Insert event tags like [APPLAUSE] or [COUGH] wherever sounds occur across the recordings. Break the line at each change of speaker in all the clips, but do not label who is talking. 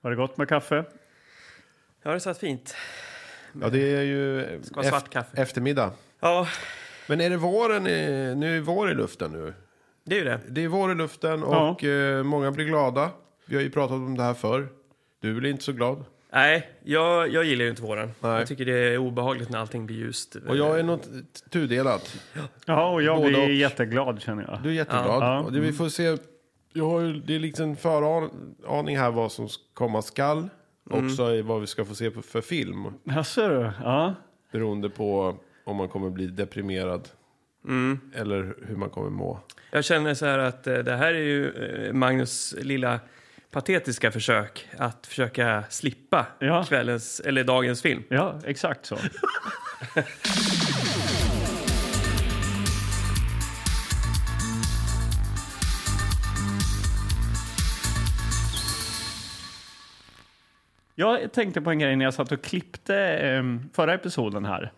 Var det gott med kaffe?
Ja, det satt fint.
Ja, det är ju
ska vara svart kaffe.
eftermiddag.
Ja,
Men är det våren? i- Nu är vår i luften nu.
det är ju det.
Det är vår i luften och eh, många blir glada. Vi har ju pratat om det här förr. Du blir inte så glad.
Nej, jag, jag gillar ju inte våren.
Nej.
Jag tycker det är obehagligt när allting blir ljust.
Och jag är något tudelat.
Ja, och jag
Både
blir
och.
jätteglad känner jag.
Du är jätteglad.
Ja.
Och det, vi får se. Jag har ju, det är liksom en föraning här vad som komma skall.
Mm.
Också i vad vi ska få se på- för film.
Jaså du? Ja.
Beroende på om man kommer bli deprimerad.
Mm.
Eller hur man kommer må.
Jag känner så här att eh, det här är ju eh, Magnus lilla patetiska försök att försöka slippa
Ja.
kvällens, eller dagens film.
ja, exakt så. Jag tänkte på en grej när jag satt och klippte ehm, förra episoden här.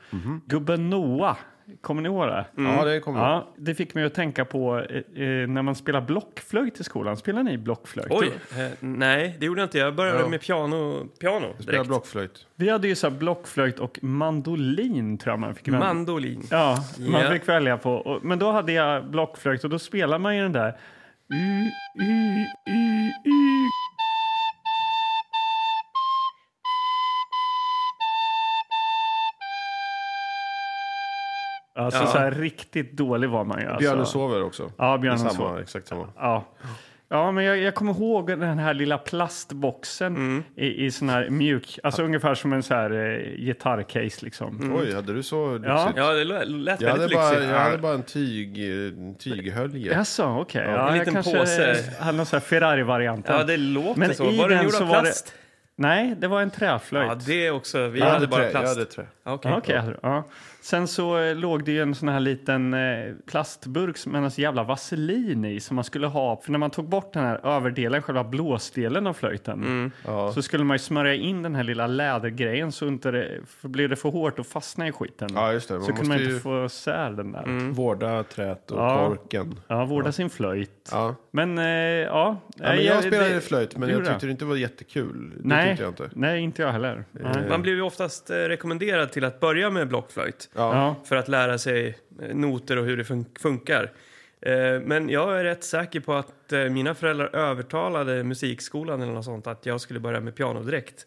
Gubben Noah, kommer ni ihåg det?
Mhm.
Mm.
Ja, det kommer
Ja, det fick mig att tänka på eh, eh, när man spelar blockflöjt i skolan. Spelar ni blockflöjt?
Oj, eh, nej, det gjorde jag inte. Jag började
Ja.
med piano, piano
Spela
direkt.
blockflöjt.
Vi hade ju så här blockflöjt och mandolin tror jag man fick välja.
Mandolin.
Ja, man
Ja.
fick välja på. Och, men då hade jag blockflöjt och då spelar man ju den där. Y, y, y, y. Alltså
Ja.
så här riktigt dålig var man ju. Alltså.
Björnen sover också.
Ja,
Det är
björnen
samma,
sover.
Exakt samma.
Ja. Ja, men jag, jag kommer ihåg den här lilla plastboxen
Mm.
i, i sån här mjuk, alltså ungefär som en så här eh, gitarrcase liksom.
Mm.
Oj, hade du så lyxigt?
Ja.
Ja, det lät lät
Jag hade,
väldigt
bara,
lyxigt.
jag hade bara en tyg, en tyghölje.
Jaså, okej. Ja,
en
jag
liten
kanske
påse.
hade någon sån här Ferrari-variant.
Ja, det låter
Men
så.
i
Var den
den
gjord
så
av
var det-
plast?
Nej, det var en
Ja,
träflöjt.
det är också. Vi
Jag
hade bara
trä,
plast.
Jag hade trä.
Ja, okej.
Ja, okej, hade du. ja. Sen så eh, låg det ju en sån här liten eh, plastburk med en så jävla vaselin i som man skulle ha. För när man tog bort den här överdelen, själva blåsdelen av flöjten,
Ja.
så skulle man ju smörja in den här lilla lädergrejen så inte det, för blev det för hårt och fastna i skiten.
Ja, just det. Man
så kunde man
måste
inte
ju Mm.
få sär den där.
Mm.
vårda trät och
Ja.
korken.
Ja, vårda sin flöjt.
Ja.
Men eh, ja.
Ja, men
eh,
jag
det-
spelade flöjt, men
du
jag
gjorde
tyckte det inte var jättekul. Det
Nej.
tyckte jag inte.
Nej, inte jag
Eh,
heller. Nej.
Man blir ju oftast eh, rekommenderad till att börja med blockflöjt
Ja.
Ja.
för att lära sig eh, noter och hur det fun- funkar. Eh, Men jag är rätt säker på att eh, mina föräldrar övertalade musikskolan eller något sånt att jag skulle börja med piano direkt.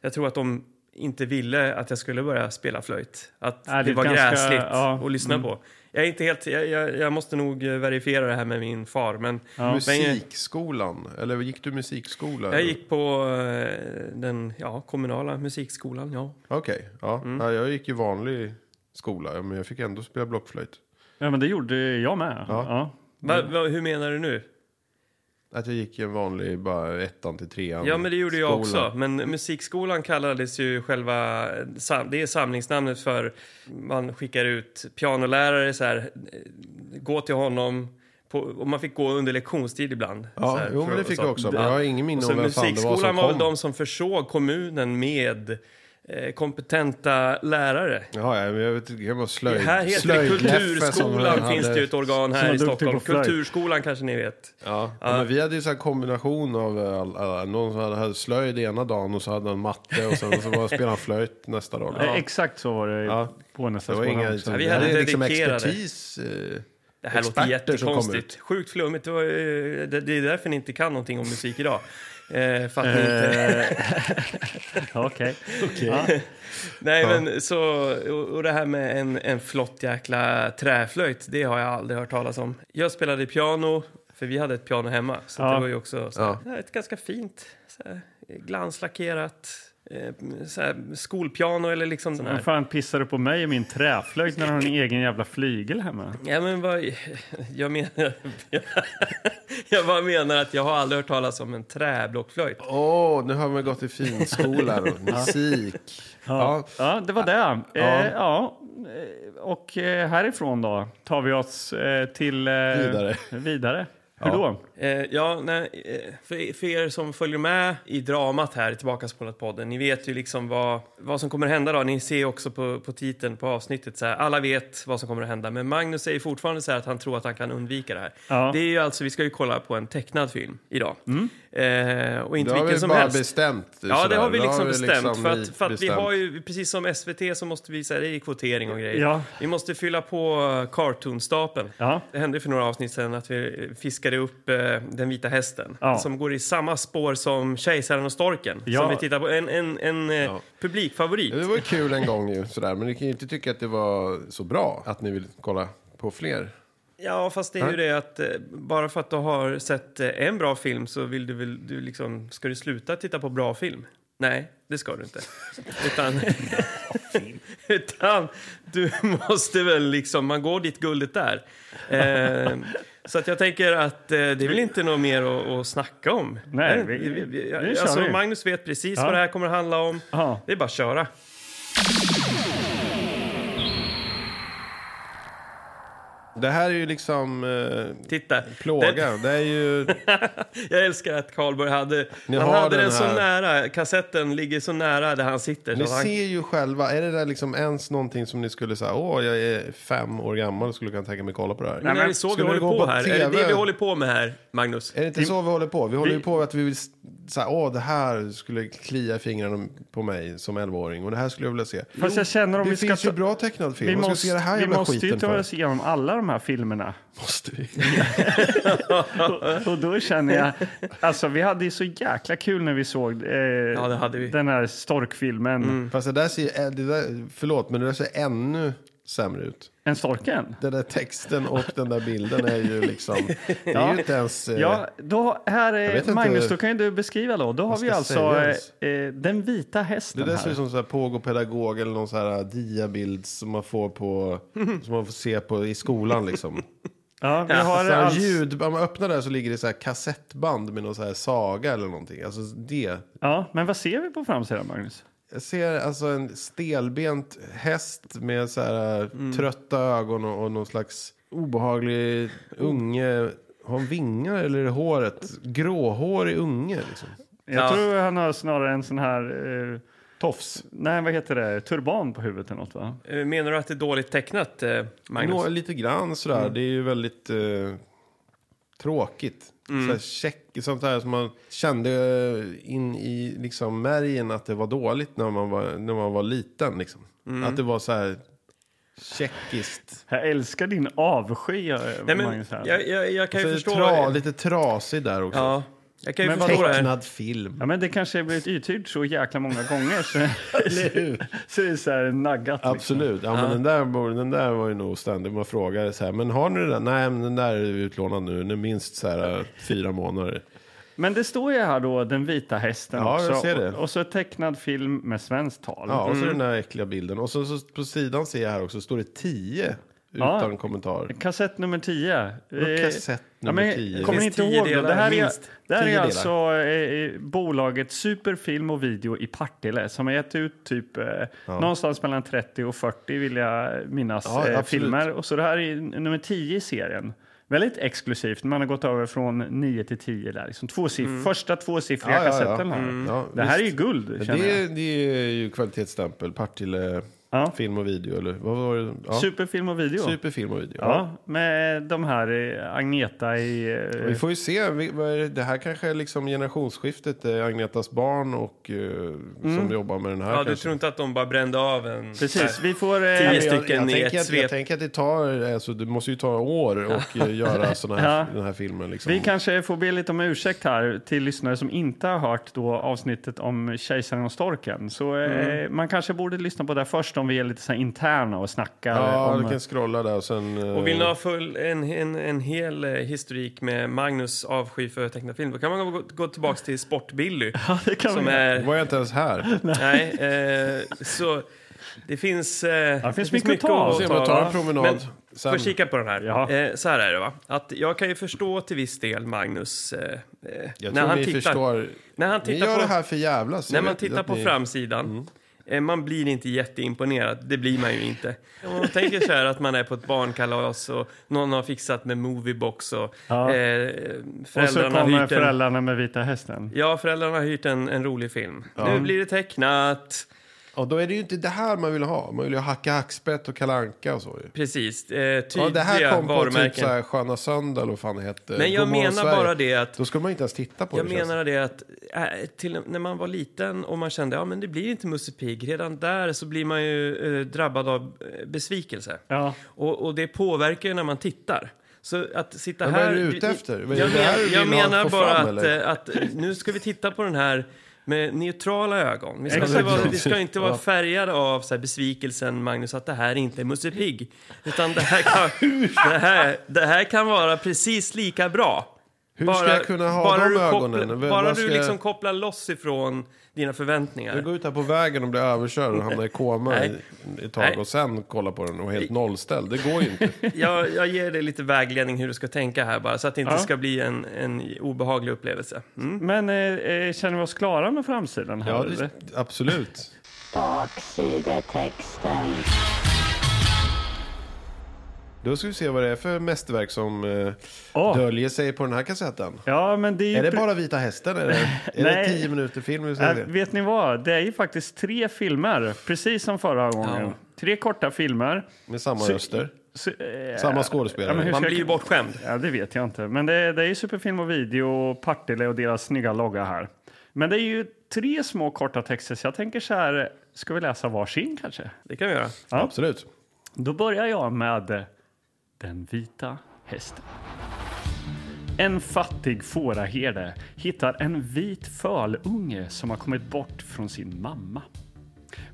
Jag tror att de inte ville att jag skulle börja spela flöjt. Att
Ja, Äh, det är
det var
ganska-
gräsligt
ja, mm.
att lyssna på. Jag är inte helt... Jag, jag, jag måste nog eh, verifiera det här med min far, men...
Ja.
Musikskolan, eller gick du musikskola?
Jag gick på eh, den ja, kommunala musikskolan, ja.
Okej, ja.
Mm.
ja. Jag gick i vanlig skola, ja, men jag fick ändå spela blockflöjt.
ja, men det gjorde jag med.
Ja.
Ja.
Va,
Mm.
va, hur menar du nu?
Att jag gick i en vanlig, bara ettan till trean.
Ja, men det gjorde jag
skola.
också. Men musikskolan kallades ju själva... eh, sam- Det är samlingsnamnet för... Man skickar ut pianolärare så här... eh, Gå till honom. På, och man fick gå under lektionstid ibland. så
Ja,
här,
jo,
för-
men det fick
så.
jag också. Men jag har ingen minne
Och så
om vem fan det var
musikskolan
som
var väl
kom.
de som försåg kommunen med eh, kompetenta lärare.
Jaha, ja, men jag vet inte, det var slöjd.
Här heter det
slöjd-
Kulturskolan
Leffe som
finns det
hade-
ju ett organ
som
här
var
i
duktig
Stockholm.
på flöjt.
Kulturskolan kanske ni vet.
Ja. Ja, men vi hade ju så här kombination av eh, all, alla- någon som hade, hade slöjd ena dagen och så hade han matte och sen så var spelade han flöjt nästa dag.
Eh, Exakt så var det
Ja.
på nästa
Det var
skola
inga,
också.
vi
det
hade
är liksom
dedikerade.
expertis. eh,
Det här låter
Experter som kom
jättekonstigt. Sjukt flummigt. Det, var, eh, det, det är därför ni inte kan någonting om musik idag. Eh, för att ni inte...
[LAUGHS]
Eh, Okej.
Nej, men så... Och, och det här med en, en flott jäkla träflöjt, det har jag aldrig hört talas om. Jag spelade piano, för vi hade ett piano hemma. Så
Ja.
det var ju också så här, det här är ett ganska fint, så här, glanslackerat eh, så här, skolpiano eller liksom den här.
Vem fan pissade på mig och min träflöjt när han har en egen jävla flygel hemma?
Ja, men vad, [LAUGHS] jag, menar, [LAUGHS] jag bara menar att jag har aldrig hört talas om en träblockflöjt.
Åh, nu har man gått i finskola [LAUGHS] och musik. Ja.
Ja, det var det. Eh, ja. eh, Och eh, härifrån då tar vi oss eh, till... eh,
Vidare.
vidare. Hur då?
Eh, ja, nej, eh, för, för er som följer med i dramat här i Tillbakaspolat-podden, ni vet ju liksom vad, vad som kommer hända då. Ni ser också på, på titeln på avsnittet så här, alla vet vad som kommer att hända. Men Magnus säger fortfarande så här att han tror att han kan undvika det här.
Ja. Mm.
Det är ju alltså, vi ska ju kolla på en tecknad film idag. Eh, och
Det
inte
har
vilken
vi
som
bara
helst.
bestämt.
Ja, det har vi
sådär.
liksom
Det
bestämt. för att, för att
bestämt.
vi har ju, precis som SVT så måste vi, så här, det är kvotering och grejer.
Ja.
Vi måste fylla på eh, cartoonstapeln.
Ja.
Det hände för några avsnitt sedan att vi eh, fiskade upp eh, den vita hästen
Ja.
som går i samma spår som Kejsaren och storken
Ja.
som vi tittar på. En, en, en eh, publikfavorit.
Det var ju kul en gång ju, sådär. men ni kan ju inte tycka att det var så bra att ni vill kolla på fler.
Ja, fast det är ju det att eh, bara för att du har sett eh, en bra film så vill du väl, du liksom, ska du sluta titta på bra film? Nej, det ska
[LAUGHS]
du inte. Utan, [LAUGHS] utan du måste väl liksom, man går dit guldet där. Eh,
[LAUGHS]
så att jag tänker att eh, det är väl inte något mer att, att snacka om.
Nej, vi- nu kör
alltså,
vi.
Magnus vet precis
Ja.
vad det här kommer att handla om.
Ja.
Det är bara att köra.
Det här är ju liksom eh,
Titta. Den-
plåga. Det är ju...
Jag älskar att Karlberg hade...
Ni
han
har
hade den,
den
så
här.
nära. Kassetten ligger så nära där han sitter. [LAUGHS]
Ni
så han,
ser ju själva, är det där liksom ens någonting som ni skulle säga, åh jag är fem år gammal och skulle kunna tänka mig kolla på det här?
Nej, men är det så vi
Skulle
håller
det
på,
gå på
här? Är
TV?
det det vi håller på med här, Magnus?
Är det inte så vi håller på? Vi håller ju
Vi-
på att vi vill s- så här, åh det här skulle klia i fingrarna på mig som 11-åring och det här skulle jag vilja se.
Fast jag känner om
det
vi ska...
finns ju
ta-
bra tecknad film,
vi
vad ska vi se det här
vi
jävla
måste
skiten
ju ta
för?
oss igenom alla de här filmerna.
Måste vi?
Och då känner
[LAUGHS]
jag... Alltså, vi hade ju så jäkla kul när vi såg eh,
det hade vi.
den här storkfilmen.
Fast det där ser, eh, det där, förlåt men det där ser ännu sämre ut.
En storken?
Den där texten och den där bilden är
[LAUGHS]
ju liksom, det är ju inte ens... eh,
Ja, då, här,
vet
är
inte-
Magnus, då kan ju du beskriva då. Då har
ska
vi alltså
säga ens?
eh, eh, den vita hästen
Det där ser
här.
ut som så här pågåpedagog eller någon så här diabild som man får på, som man får se på i skolan liksom.
Ja, vi [LAUGHS] har
alltså,
så här
alls...
ljud, om man öppnar där så ligger det så här kassettband med någon så här saga eller någonting. Alltså det.
Ja, men vad ser vi på framsidan, Magnus?
Jag ser alltså en stelbent häst med så här eh, trötta ögon och, och någon slags obehaglig unge. Har han vingar eller är det håret? Gråhårig unge liksom.
Jag
Ja.
tror han har snarare en sån här... Eh,
Tofs.
nej, vad heter det? Turban på huvudet eller något, va?
Eh, Menar du att det är dåligt tecknat, eh, Magnus?
Nå, lite grann sådär. Det är ju väldigt eh, tråkigt. Sådär check, sånt där som man kände eh, in i liksom märgen att det var dåligt när man var, när man var liten. Liksom. Att det var så här tjeckiskt.
Jag älskar din avsky, eh,
Nej, men,
Magnus. Här.
jag, jag, jag kan ju
Så
förstå...
tra, lite trasig där också.
ja, jag kan ju
Men
förstå det här.
Tecknad film.
Ja, men det kanske har blivit uthyrt så jäkla många gånger
[LAUGHS]
så, så det är så här naggat. Liksom.
Absolut. Ja, men den, där, borde- den där var ju nog ständig. Man frågade så här, men har ni den? Nej, men den där är utlånad nu. Den är minst så här, eh, fyra månader.
Men det står ju här då, Den vita hästen
Ja,
också.
jag ser det.
Och, och så tecknad film med svenskt tal.
Ja, och så den där äckliga bilden. Och så, så på sidan ser jag här också, står det 10 utan
Ja.
kommentar.
Kassett nummer 10.
Vadå
Eh,
Mm. kassett nummer 10?
Kommer ni
Minst
inte
tio
ihåg? då?
delar,
Det här är,
minst
det här
tio
är
delar.
alltså eh, eh, bolaget Superfilm och video i Partille som har gett ut typ eh, någonstans mellan 30 och 40 vill jag minnas
Ja,
eh,
absolut.
filmer. Och så det här är nummer 10 i serien. Väldigt exklusivt. Man har gått över från 9 till 10 där. Liksom två siff- Första tvåsiffriga
Mm. Ja, ja, ja.
kassetten här.
Mm. Ja,
det här är ju
visst.
guld känner
Det
jag.
är, det är ju kvalitetsstämpel, Partille
Ja.
film och video eller vad var det? Ja.
Superfilm och video.
Superfilm och video.
Ja, med de här eh, Agneta i... eh,
Vi får ju se, vi- vad är det- det här kanske är liksom generationsskiftet, eh, Agnetas barn och eh, som jobbar med den här
Ja, du
kanske.
tror inte att de bara brände av en...
Precis, vi får... eh,
Tio
Men jag,
stycken i
jag, tänker
ett
att, jag
svep.
tänker att det tar, alltså, det måste ju ta år och
[LAUGHS]
eh, göra såna här, den här filmen. Liksom.
Vi kanske får be lite om ursäkt här till lyssnare som inte har hört då avsnittet om Kejsaren och storken. Så
Mm.
eh, man kanske borde lyssna på det först om vi är lite så här interna och snackar
ja,
om...
du Eh, kan scrolla där och sen... eh,
Och vill ni ha full, en, en, en hel eh, historik med Magnus avsky för tecknad film, då kan man gå, gå tillbaka till Sport-Billy.
[LAUGHS] Ja, det kan
som
vi.
är...
Var jag inte
[LAUGHS]
ens här?
Nej, eh, så det finns, eh,
finns mycket att ta.
Vi får se om jag tar en promenad
Men
sen.
får kika på den här.
Jaha.
Eh, så här är det va, att jag kan ju förstå till viss del Magnus eh, eh,
Jag tror ni förstår.
när han
Ni
tittar
gör
på,
det här för jävlas.
när
Jag
man
vet att
tittar på
ni- Mm.
framsidan eh, man blir inte jätteimponerad. Det blir man ju
[LAUGHS]
inte. Om man tänker så här att man är på ett barnkalas och någon har fixat med moviebox och
Ja.
eh,
Och så
föräldrarna har
kommer
hyrt en
föräldrarna med Vita Hästen.
Ja, föräldrarna har hyrt en, en rolig film. Nu blir det tecknat.
Ja, då är det ju inte det här man vill ha. Man vill ju ha Hacka Hackspett och Kalanka och så ju.
Precis, eh,
Ja,
tydliga
det här kom på
varumärken.
typ så här Sköna Söndag eller vad fan det hette.
Men jag
Godmorgon
menar
Sverige.
bara det att
Då ska man inte ens titta på
jag
det. känns
menar det att äh, till, när man var liten och man kände ja men det blir inte Musse Pigg, redan där så blir man ju eh, drabbad av eh, besvikelse.
Ja.
Och, och det påverkar ju när man tittar. Så att sitta
Ja,
här...
vad är du ute efter? Vad är
Jag,
det här du
men,
vill
jag
ha-
menar
få
bara
fram,
att,
eller?
eh, att nu ska vi titta på den här med neutrala ögon. Vi ska, inte
Exakt.
vara, vi ska inte vara
Ja.
färgade av så här, besvikelsen, Magnus, att det här inte är Musse Pigg. Utan det här,
[LAUGHS]
kan, det, här, det här kan vara precis lika bra.
Hur ska jag kunna ha de
du
ögonen?
kopplar-
Vem-
bara du
vad ska jag-
liksom kopplar loss ifrån dina förväntningar.
Du går ut här på vägen och blir överkörd och hamnar i koma i
Nej.
ett tag
Nej.
och sen kolla på den och helt nollställd. Det går ju
[LAUGHS]
inte.
jag, jag ger dig lite vägledning hur du ska tänka här bara, så att det inte
Ja.
ska bli en, en obehaglig upplevelse. Mm.
Men eh, eh, känner vi oss klara med framsidan? Här,
Ja,
eller?
det, absolut.
Baksidetexten.
Då ska vi se vad det är för mästerverk som eh,
Åh.
döljer sig på den här kassetten.
ja men det är ju
Är det
pre-
bara Vita Hästen?
[LAUGHS]
Är det, är det
Nej.
tio minuter film? Hur
Äh,
ser det?
vet ni vad? Det är ju faktiskt tre filmer, precis som förra gången.
Ja.
Tre korta filmer.
Med samma
Så-
röster?
Så, eh,
Samma
ja, men
skådespelare?
hur ska
Man blir ju
jag...
bortskämd.
Ja, det vet jag inte. Men det, det är ju Superfilm och Video, och Partille och deras snygga logga här. Men det är ju tre små korta texter, så jag tänker så här, ska vi läsa varsin kanske?
Det kan vi göra.
Absolut.
Då börjar jag med eh, Den vita hästen. En fattig fåraherde hittar en vit fölunge som har kommit bort från sin mamma.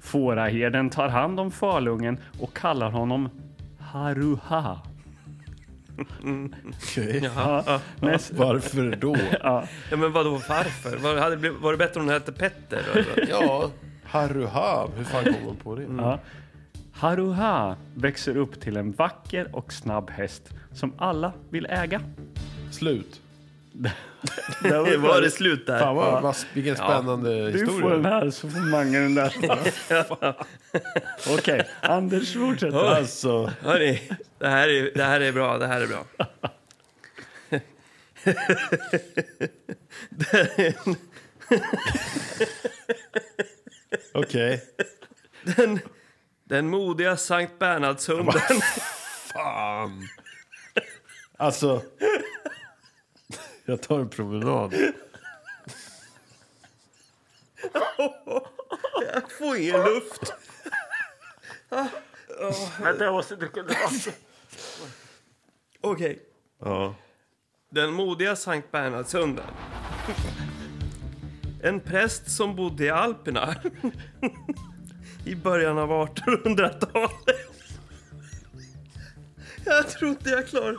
Fåraherden tar hand om fölungen och kallar honom Haruha. Ja, näst,
Varför då?
Ja, men vadå, varför? Var, hade det blivit, var det bättre om den hette Petter? Eller?
ja, Haruha. Hur fan kom man på det?
Ja. Haruha växer upp till en vacker och snabb häst som alla vill äga.
Slut.
[LAUGHS]
Var, var [LAUGHS] det slut där?
Fan vad, vad, vilken spännande
Du
historia.
får den här så får Mange den där. Okej, Anders fortsätter.
Alltså,
Hörni, det, här är, det här är bra, det här är bra.
okej.
Den modiga Sankt Bernhardshunden. [LAUGHS]
Fan. Alltså. Jag tar en promenad.
Få ingen [LAUGHS] luft. Ah,
Vänta, jag måste dricka glas.
[LAUGHS] Okej.
Ja.
Den modiga Sankt Bernhardshunden. En präst som bodde i Alperna i början av 1800-talet. Jag tror inte jag klarar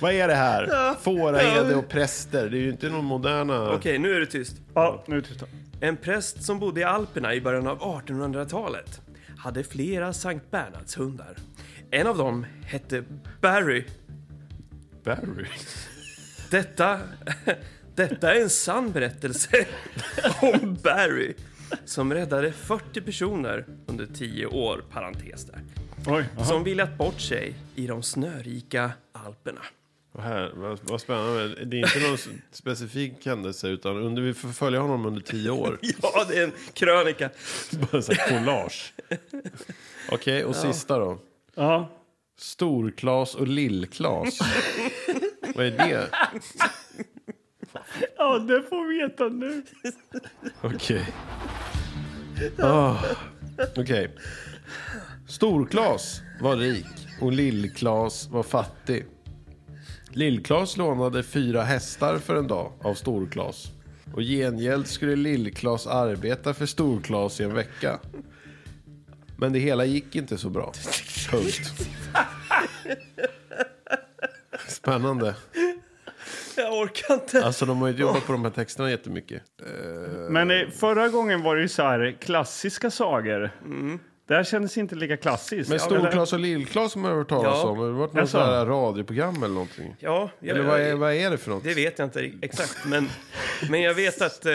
Vad är det här? Fåraherde och präster. Det är ju inte någon moderna...
Okej, nu är det tyst.
Ja, nu är det tyst.
En präst som bodde i Alperna i början av 1800-talet hade flera Sankt Bernhardshundar. En av dem hette Barry.
Barry.
Detta, [LAUGHS] detta är en sann berättelse [LAUGHS] om Barry som räddade 40 personer under 10 år, parentes där,
Oj, aha.
som villat bort sig i de snörika Alperna.
Vad Här, vad, vad spännande. Det är inte någon s- specifik händelse utan under, vi får följa honom under tio år.
[LAUGHS] Ja, det är en krönika.
[LAUGHS] Bara så här collage. Okej, och sista då.
ja.
Storklas och Lillklas. Vad är det?
ja, det får vi veta nu.
Okej. Ah, Okej. Storklas var rik och Lillklas var fattig. Lillklas lånade fyra hästar för en dag av Storklas. Och i gengäld skulle Lillklas arbeta för Storklas i en vecka. Men det hela gick inte så bra. Punkt. Spännande.
Jag orkar inte.
Alltså de har ju inte jobbat på de här texterna jättemycket.
Men eh, förra gången var det ju så här eh, klassiska sagor.
Mm.
Det här kändes inte lika klassiskt.
Men
Eller-
Storklas och Lillklas som jag har hört talas
Ja.
om, har det varit något
Jaså?
sånt här radioprogram eller någonting?
Ja, jag,
Eller vad är, vad är det för något?
det vet jag inte exakt, men, men jag vet att eh,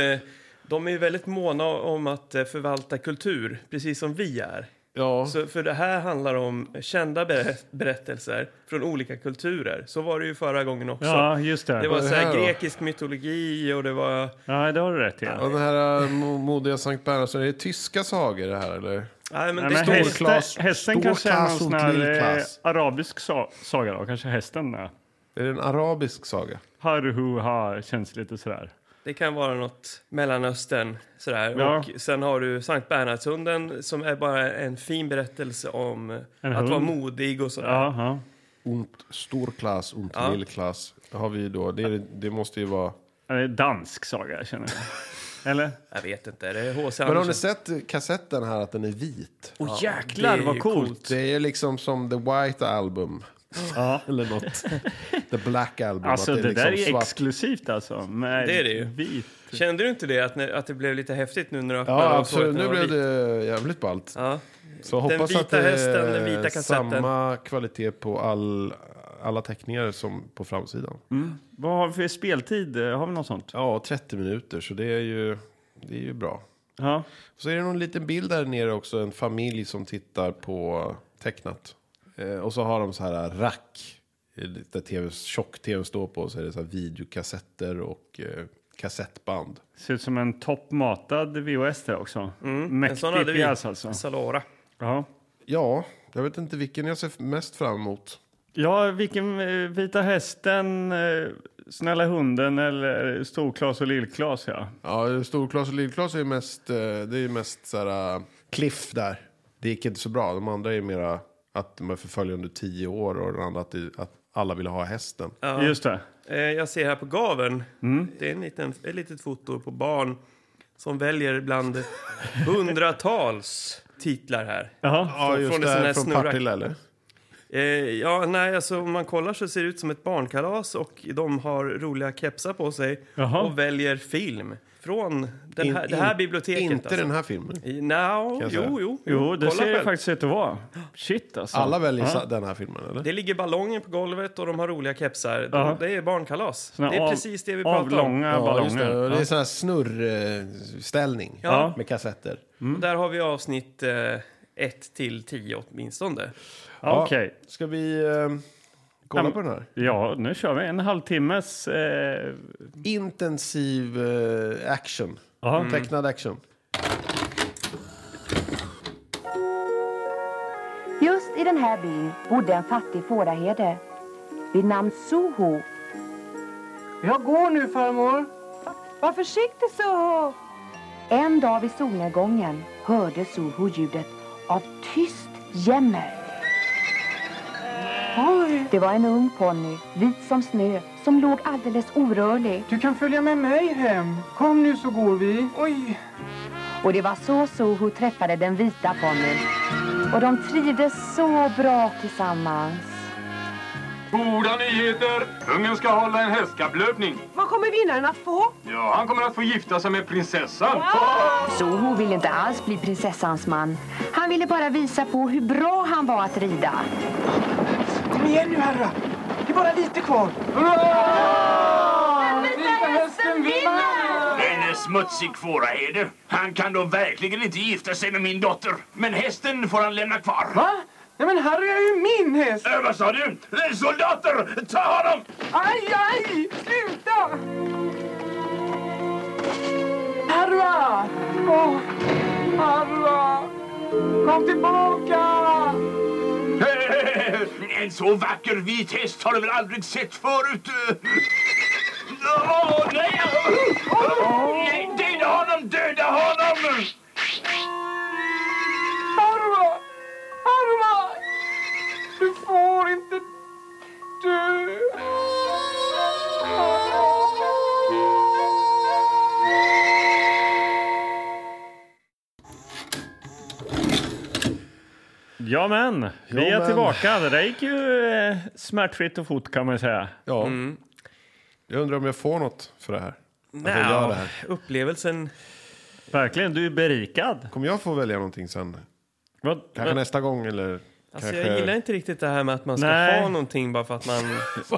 De är ju väldigt måna om att eh, förvalta kultur, precis som vi är.
Ja,
Så för det här handlar om kända ber- berättelser från olika kulturer. Så var det ju förra gången också.
Ja, just det.
Det var
Vad är
så
det
här
här då?
grekisk mytologi och det var...
Ja, det har du rätt i.
och den här eh, mo- modiga Sankt Bernhardsson, är det tyska sagor det här eller?
Nej, men
Nej,
det
men
står...
häst-
hästen,
klass-
hästen kanske
stor
är någon
klass och
sån här eh,
lillklass.
arabisk sa- saga då. Kanske hästen med.
Är det en arabisk saga?
Harhu ha känns lite sådär.
Det kan vara något Mellanöstern. Sådär.
Ja.
Och sen har du Sankt Bernhardshunden som är bara en fin berättelse om att
hund.
vara modig och sådär.
Ja, ja.
Und Storklass und
Ja.
Lillklass har vi då. Det, är, det måste ju vara...
Ja, det är dansk saga känner jag. Eller?
Jag vet inte, det är H.C.
Men har
Andersen.
ni sett kassetten här att den är vit?
Åh oh,
jäklar, vad coolt.
Det är liksom som The White Album.
Ja.
[LAUGHS] Eller något. The Black Album.
Alltså
att liksom
det, där är
svart.
exklusivt alltså. Med
Det är det ju.
Vit.
Kände du inte det, att, när, att det blev lite häftigt nu när du öppnade
Ja,
och såg att
absolut.
den
Nu
var
blev
vit?
det jävligt ballt.
Ja.
Så
Den
hoppas
vita
att det
hästen, den vita
är
kassetten.
samma kvalitet på all, alla teckningar som på framsidan.
Mm. Vad har vi för speltid? Har vi något sånt?
Ja, 30 minuter, så det är ju, det är ju bra.
Ja.
Så är det någon liten bild där nere också, en familj som tittar på tecknat. Eh, och så har de så här rack, eh, där TV, tjock-tv står på, så är det så här videokassetter och eh, kassettband.
Ser ut som en toppmatad VHS där också. Mm.
En sån hade
Mäktig
vi.
pjäs alltså.
Salora.
Ja.
Ja, jag vet inte vilken jag ser f- mest fram emot.
Ja, vilken eh, Vita Hästen, eh, Snälla Hunden eller Storklas och Lillklas ja.
Ja, Storklas och Lillklas är ju mest, eh, det är ju mest så här, eh, cliff där. Det gick inte så bra. De andra är ju mera att de är förföljda under tio år och den andra att, det- att alla vill ha hästen.
Ja.
Just det.
Eh, Jag ser här på gaven,
Mm.
det är en liten, ett litet foto på barn som väljer bland hundratals titlar här.
Jaha.
Ja, just
från
det,
en sån här
här från
snurrak-
Partille eller?
Eh, ja, nej, alltså om man kollar så ser det ut som ett barnkalas och de har roliga kepsar på sig
Jaha.
och väljer film från den här,
In-
det här
in-
biblioteket.
Inte
alltså.
den här filmen.
No,
jag säga.
jo, jo,
Jo, det
Kolla
ser det
själv.
faktiskt ut att vara. Shit alltså.
Alla väljer
ja.
sa- den här filmen eller?
Det ligger ballonger på golvet och de har roliga kepsar. De,
Jaha.
Det är barnkalas.
Såna
det är
av-
precis det vi pratar om.
Avlånga
just det.
ballonger.
Och Det är sån här snurrställning
Ja.
med kassetter.
Där har vi avsnitt 1 till 10 åtminstone.
Ja, Okej.
Ska vi eh, kolla
Ja, men-
på den här?
Ja, nu kör vi. En halvtimmes... Eh,
Intensiv eh, action.
ja.
Tecknad action.
Just i den här byn bodde en fattig fåraherde vid namn Soho.
Jag går nu farmor.
Var försiktig Soho! En dag vid solnedgången hörde Soho ljudet av tyst jämmer. Det var en ung ponny, vit som snö, som låg alldeles orörlig.
Du kan följa med mig hem. Kom nu så går vi. Oj.
Och det var så Soho träffade den vita ponnyn. Och de trivdes så bra tillsammans.
Goda nyheter! Kungen ska hålla en hästkapplöpning.
Vad kommer vinnaren att få?
Ja, han kommer att få gifta sig med prinsessan.
Soho ville inte alls bli prinsessans man. Han ville bara visa på hur bra han var att rida.
Kom igen nu herrar. Det är bara lite kvar.
En smutsig fåraherde. Han kan då verkligen inte gifta sig med min dotter. Men hästen får han lämna kvar.
Va? Nej men Harry är ju min häst.
Ö, vad sa du? Soldater, ta honom!
Aj, aj! Sluta! Harra! Åh, Harra! Kom tillbaka!
En så vacker vit häst har du väl aldrig sett förut? Åh, nej! nej! Döda honom, döda honom!
Harva! Harva! Du får inte dö!
ja, men. Vi
Ja,
är
men.
tillbaka. Det där gick ju eh, smärtfritt och fort kan man säga.
Ja.
Mm.
Jag undrar om jag får något för det här. Att jag gör det
Nja,
här.
upplevelsen...
Verkligen. Du är berikad.
Kommer jag få välja någonting sen?
Vad,
Kanske
vad,
nästa gång eller?
Alltså, jag
Kanske-
gillar inte riktigt det här med att man ska
Nej.
ha någonting bara för att
[LAUGHS]
man...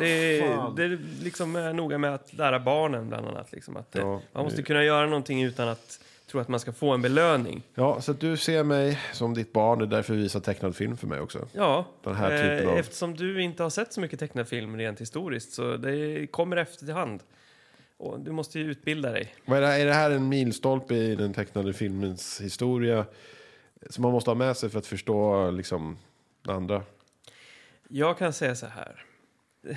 det, det liksom är noga med att lära barnen bland annat. Liksom, att, eh,
Ja,
man måste kunna göra någonting utan att tro att man ska få en belöning.
Ja, så att du ser mig som ditt barn. Det är därför vi visar tecknad film för mig också.
Ja, eh,
Den här typen av-
eftersom du inte har sett så mycket tecknad film rent historiskt så det kommer efterhand. Och du måste ju utbilda dig.
Vad är, det här, är det här en milstolpe i den tecknade filmens historia som man måste ha med sig för att förstå liksom, det andra?
Jag kan säga så här.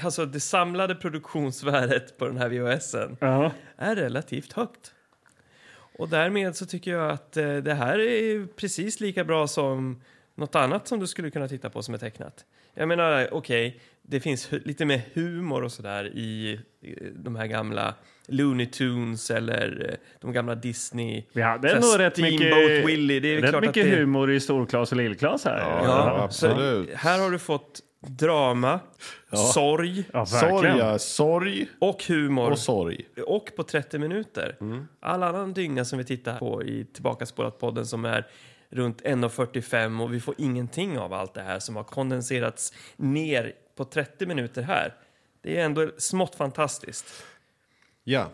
Alltså det samlade produktionsvärdet på den här VHSen
Ja.
är relativt högt. Och därmed så tycker jag att eh, det här är precis lika bra som något annat som du skulle kunna titta på som är tecknat. Jag menar, okej, det finns hu- lite mer humor och sådär i eh, de här gamla Looney Tunes eller eh, de gamla Disney.
Vi hade
Så här
nog rätt mycket,
Steamboat Willie, det är väl
rätt
klart att
mycket
det-
humor i storklass och lillklass här.
Ja,
så
absolut.
Här har du fått drama, sorg
ja
Sorg,
verkligen.
ja. sorg
och humor.
och sorg.
och på 30 minuter. All annan dygna som vi tittar på i Tillbaka podden som är runt 1.45 och vi får ingenting av allt det här som har kondenserats ner på 30 minuter här. Det är ändå smått fantastiskt.
Ja.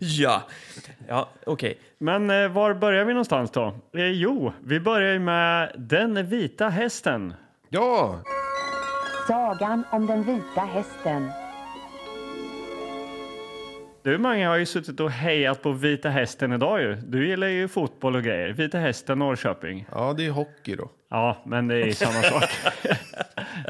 Ja, ja okej.
Men eh, var börjar vi någonstans då? Eh, jo, vi börjar ju med Den vita hästen.
Ja!
Sagan om den vita hästen.
Du Mange har ju suttit och hejat på Vita Hästen idag ju. Du gillar ju fotboll och grejer. Vita Hästen Norrköping.
Ja, det är hockey då.
Ja, men det är
[LAUGHS]
samma sak.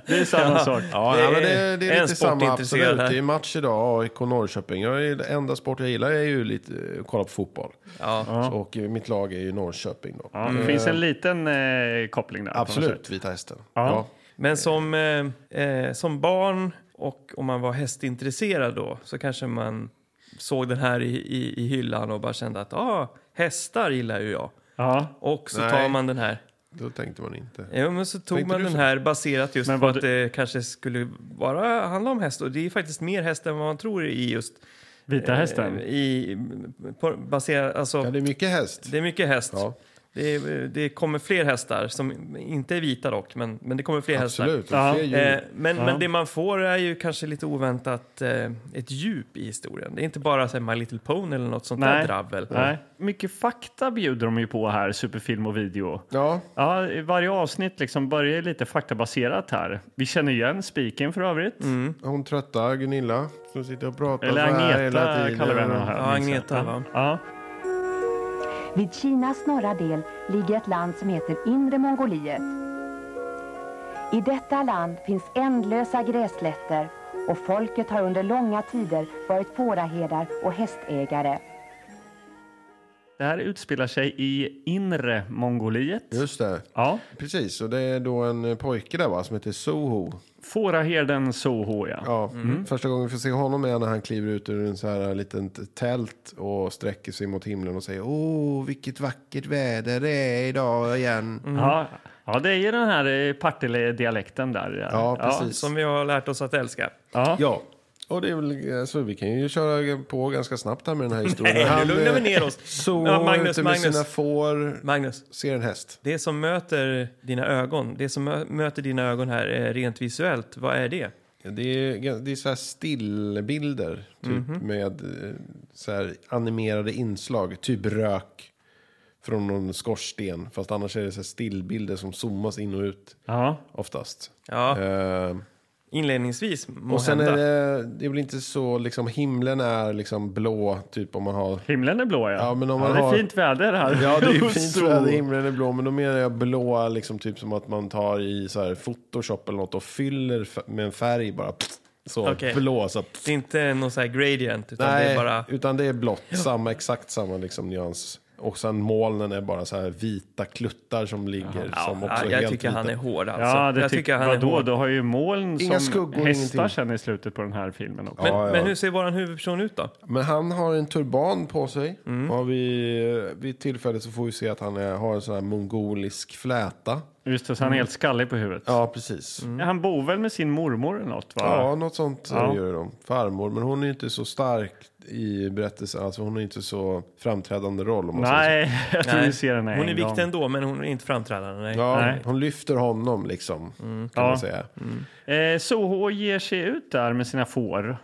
det är samma sak.
Ja,
Det
det, men det,
är-
det
är
är
en
lite samma,
sportintresserad
absolut.
här.
Det är match idag, AIK Norrköping. Jag är, det enda sport jag gillar är ju lite, att kolla på fotboll.
Ja.
Och eh, mitt lag är ju Norrköping då.
Ja, Det finns
Mm.
en liten eh, koppling där. på något sätt.
Absolut, Vita Hästen.
Ja.
Men som, eh, eh, som barn och om man var hästintresserad då så kanske man såg den här i, i, i hyllan och bara kände att ah, hästar gillar ju jag.
Ja.
Och så
Nej.
tar man den här.
Då tänkte man inte.
Ja, men så tog
Tänkte
man
du
den
så?
här baserat just
Men
på
vad
att det kanske skulle bara handla om häst. Och det är faktiskt mer häst än vad man tror i just...
Vita Hästen.
eh, I, på, baserat, alltså,
Ja, det är mycket häst.
det är mycket häst.
Ja.
Det, är- det kommer fler hästar, som inte är vita dock, men, men det kommer fler hästar.
Absolut.
Ja.
Och fler djur.
Eh, men, men det man får är ju kanske lite oväntat eh, ett djup i historien. Det är inte bara så här, My Little Pony eller något sånt där
Nej.
dravel.
Nej. Mycket fakta bjuder de ju på här, superfilm och video.
Ja,
Ja, i varje avsnitt liksom börjar ju lite faktabaserat här. Vi känner igen spiken för övrigt.
Mm.
hon trötta Gunilla som sitter och pratar
Eller
så här hela
Agneta
tiden.
kallar vi henne här.
Ja,
minns jag.
Agneta, va?
Ja.
Vid Kinas norra del ligger ett land som heter Inre Mongoliet. I detta land finns ändlösa gräslätter och folket har under långa tider varit fåraherdar och hästägare.
Det här utspelar sig i inre Mongoliet.
Just det.
Ja.
Precis, och det är då en eh, pojke där va, som heter Soho.
Fåraherden Soho, ja.
Ja,
Mm.
Mm. Första gången vi får se honom är när han kliver ut ur en så här liten t- tält och sträcker sig mot himlen och säger Åh, vilket vackert väder det är idag igen.
Mm.
Ja. ja, det är ju den här eh, Partille-dialekten där.
Ja, precis.
Som vi har lärt oss att älska.
Ja. Ja.
Ja, och det är väl, alltså, vi kan ju köra på ganska snabbt här med den här historien.
Nej, nu lugnar vi
eh,
ner oss.
Soho
Ja,
är
Magnus,
ute med
Magnus.
sina får,
Magnus,
ser en häst.
det som möter dina ögon, det som mö- möter dina ögon här eh, rent visuellt, vad är det?
Ja, Det är, gan- det är så här stillbilder, typ med eh, så här animerade inslag, typ rök från någon skorsten. Fast annars är det så här stillbilder som zoomas in och ut oftast.
Ja,
Eh,
inledningsvis
och sen
måhända.
är det, det är väl inte så, liksom himlen är liksom blå, typ om man har...
Himlen är blå, ja.
Ja, men om
ja,
man
det är
har-
fint väder här.
Ja,
[LAUGHS]
det [LAUGHS] är ju fint
Så-
väder, himlen är blå, men då menar jag blåa, liksom typ som att man tar i så här photoshop eller något och fyller f- med en färg bara. pff, Så
Okej.
blå, så att
Det är inte någon sån här gradient, utan
Nej,
det är bara...
utan det är blått. Samma, exakt samma liksom, nyans. Och sen molnen är bara så här vita kluttar som ligger. som också
Ja,
är
jag
helt
tycker
vita.
han är hård alltså.
Ja, det
jag
tycker jag. Vadå, du har ju moln som
Inga skuggor,
hästar
ingenting.
sen i slutet på den här filmen också.
Men,
Ja, ja.
men hur ser våran huvudperson ut då?
Men han har en turban på sig.
Mm.
Och vid, vid tillfället så får vi se att han är, har en sån här mongolisk fläta.
Just det, så han är helt skallig på huvudet.
Mm. Ja, precis.
Han bor väl med sin mormor eller något? Va?
Ja, något sånt
Ja.
gör de. Farmor. Men hon är ju inte så stark i berättelsen. Alltså hon har inte så framträdande roll. Om man säger
Nej, [LAUGHS] jag tror vi ser den en
Hon är
gång.
viktig ändå, men hon är inte framträdande. Nej. Mm.
så. Ja,
Nej.
Hon lyfter honom liksom. Kan
Ja.
man säga.
Eh, Soho ger sig ut där med sina får.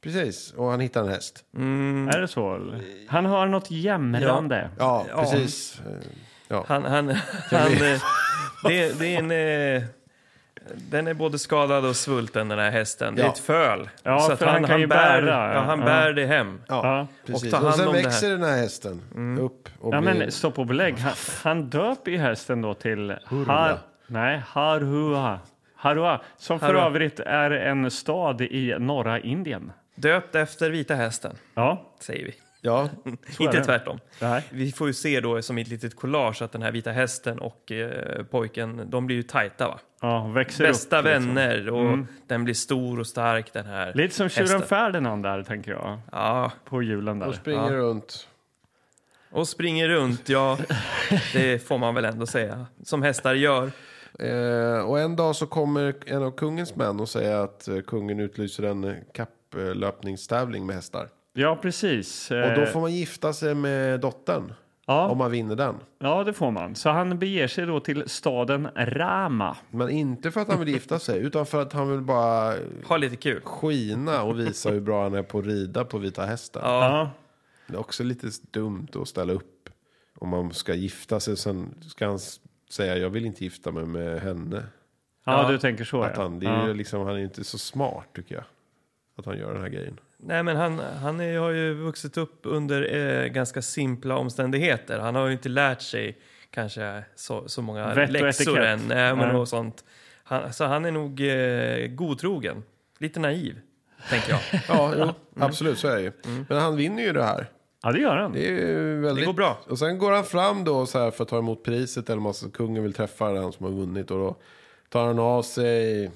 Precis, och han hittar en häst.
Mm.
Är det så? eller? Han har något jämrande.
Ja,
Eh. Ja.
precis. Eh, Ja.
Han, han, [LAUGHS] han, eh, det, det är en, eh, den är både skadad och svulten, den här hästen. Det är
Ja.
ett föl.
Ja, för han kan ju bära.
Ja, han
Ja.
bär det hem.
Ja,
Ja.
precis.
Och
Och,
ta hand
sen
om det
växer den här hästen upp och
Ja,
blir...
men stopp och belägg. Han, han döper ju hästen då till har, nej, Harhua. Harua, som för
Harua.
övrigt är en stad i norra Indien.
Döpt efter vita hästen,
Ja,
säger [LAUGHS] vi.
Ja,
Inte
det.
tvärtom.
nej.
Vi får ju se då som i ett litet collage att den här vita hästen och eh, pojken, de blir ju tajta va?
Ja, växer
Bästa
upp. liksom.
vänner och den blir stor och stark den här
Lite som tjuren
hästen.
Ferdinand där, tänker jag.
Ja,
På julen
och
där.
springer runt.
och springer
[LAUGHS]
runt, ja. Det får man väl ändå säga. Som hästar gör.
Eh, och en dag så kommer en av kungens män och säger att eh, kungen utlyser en eh, kapplöpningstävling med hästar.
Ja, precis.
Och då
Eh,
får man gifta sig med dottern.
Ja.
Om man vinner den.
Eh, Ja, det får man. Så han beger sig då till staden Rama.
Men inte för att han vill gifta sig, utan för att han vill bara
Ha lite kul.
skina och visa hur bra han är på att rida på vita hästen.
Ja.
Det är också lite dumt att ställa upp om man ska gifta sig. Sen ska han s- säga jag vill inte gifta mig med henne.
Ja, du tänker så.
Att
ja.
han, det är ju liksom, han är ju inte så smart tycker jag. Att han gör den här grejen.
Nej, men han, han är, har ju vuxit upp under eh, ganska simpla omständigheter. Han har ju inte lärt sig kanske så, så många
Vett och
läxor
etikett.
än. Nej, men
Nej.
Och sånt. Han, så han är nog eh, godtrogen. Lite naiv,
[LAUGHS]
tänker jag.
Ja, jo, absolut så är det ju. Men han vinner ju det här.
ja, det gör han.
Mm. Det är ju väldigt...
Det går bra.
Och sen går han fram då så här för att ta emot priset. Eller om alltså kungen vill träffa den som har vunnit. Och då tar han av sig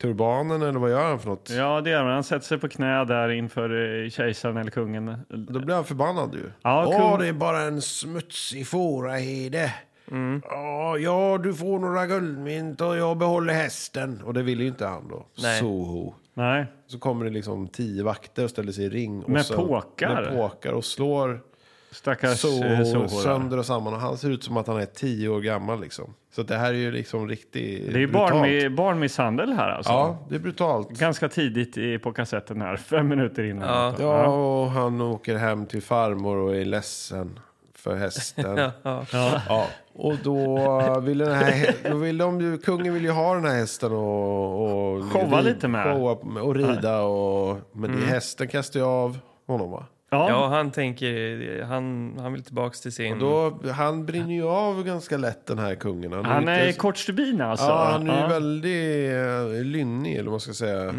turbanen eller vad gör han för något?
Ja, det gör han. Han sätter sig på knä där inför eh, kejsaren eller kungen.
Då blir han förbannad ju.
Ja,
Åh,
kung-
det är bara en smutsig fåraherde. Mm. ja, du får några guldmynt och jag behåller hästen. Och det ville ju inte han då.
Nej.
Soho.
Nej.
Så kommer det liksom tio vakter och ställer sig i ring. Och
Med
så,
påkar.
Med påkar och slår
Stackars eh,
Soho
Soho. där.
sönder och samman. Och han ser ut som att han är tio år gammal liksom. Så att det här är ju liksom riktigt
Det är ju barnmi- barnmisshandel här alltså.
Ja, det är brutalt.
Ganska tidigt i, på kassetten här, fem minuter innan. Alltså.
Ja.
Ja, och han åker hem till farmor och är ledsen
[LAUGHS]
för hästen.
Ja.
Ja, och då vill, den här, då vill de ju, kungen vill ju ha den här hästen och... och
Showa lite med.
showa och rida och... Men det är hästen kastar ju av honom va?
Ja.
ja, han tänker, eh, han, han vill tillbaks till sin...
Då, han brinner ju av ganska lätt den här kungen.
Han är
inte-
kort stubin alltså.
Ja, han är ju väldigt eh, lynnig eller vad man ska säga.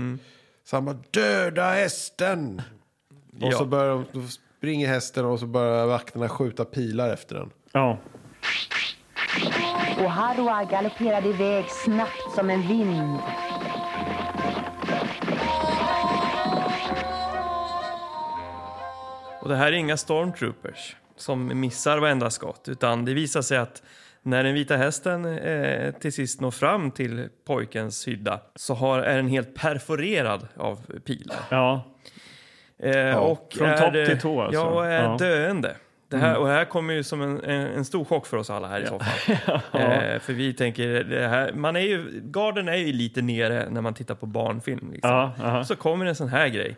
Så han bara döda hästen! Och
Ja.
så börjar de, då springer hästen och så börjar vakterna skjuta pilar efter den.
ja.
och Harua galopperade iväg snabbt som en vind.
Och det här är inga stormtroopers som missar varenda skott, utan det visar sig att när den vita hästen eh, till sist når fram till pojkens hydda så har, är den helt perforerad av pilar.
ja.
Eh, och
från
är,
topp till tå alltså.
Ja, och är
Ja. Mm.
döende. Det här, Och det här kommer ju som en, en, en stor chock för oss alla här i så fall.
[LAUGHS]
eh, för vi tänker, det här, man är ju, garden är ju lite nere när man tittar på barnfilm. Liksom.
Ja, aha.
Så kommer en sån här grej.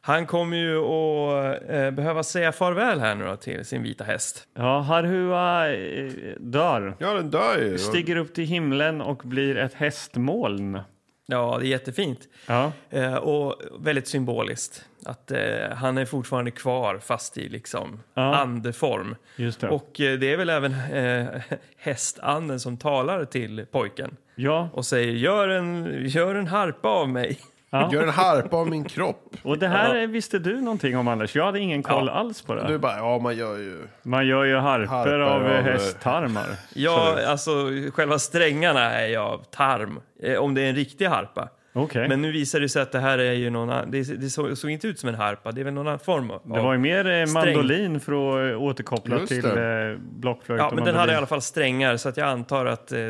Han kommer ju att eh, behöva säga farväl här nu då till sin vita häst.
ja Harhua eh, dör.
Ja, den dör ju.
Stiger upp till himlen och blir ett hästmoln.
Ja, det är jättefint.
Ja.
Eh, och väldigt symboliskt. Att eh, han är fortfarande kvar fast i liksom
Ja.
andeform.
Just det.
Och eh, det är väl även eh, [LAUGHS] hästanden som talar till pojken
Ja,
och säger gör en, gör en harpa
[LAUGHS]
av mig.
Gör en harpa av min kropp.
och det här eh, visste du någonting om Anders. Jag hade ingen koll
Ja.
alls på det.
Du bara, ja man gör ju.
Man gör ju harper,
Harper
av
av, eh,
eh, hästtarmar.
Ja, alltså själva strängarna är jag tarm. Eh, om det är en riktig harpa.
Okej.
Men nu visar det sig att det här är ju någon, ann- det, det såg, såg inte ut som en harpa, det är väl någon annan form av...
Det var ju mer eh,
Sträng.
mandolin för att eh, återkoppla
Just
till
det.
eh, blockflöjt
Ja,
och
men den hade i
mandolin.
alla fall strängar så att jag antar att eh,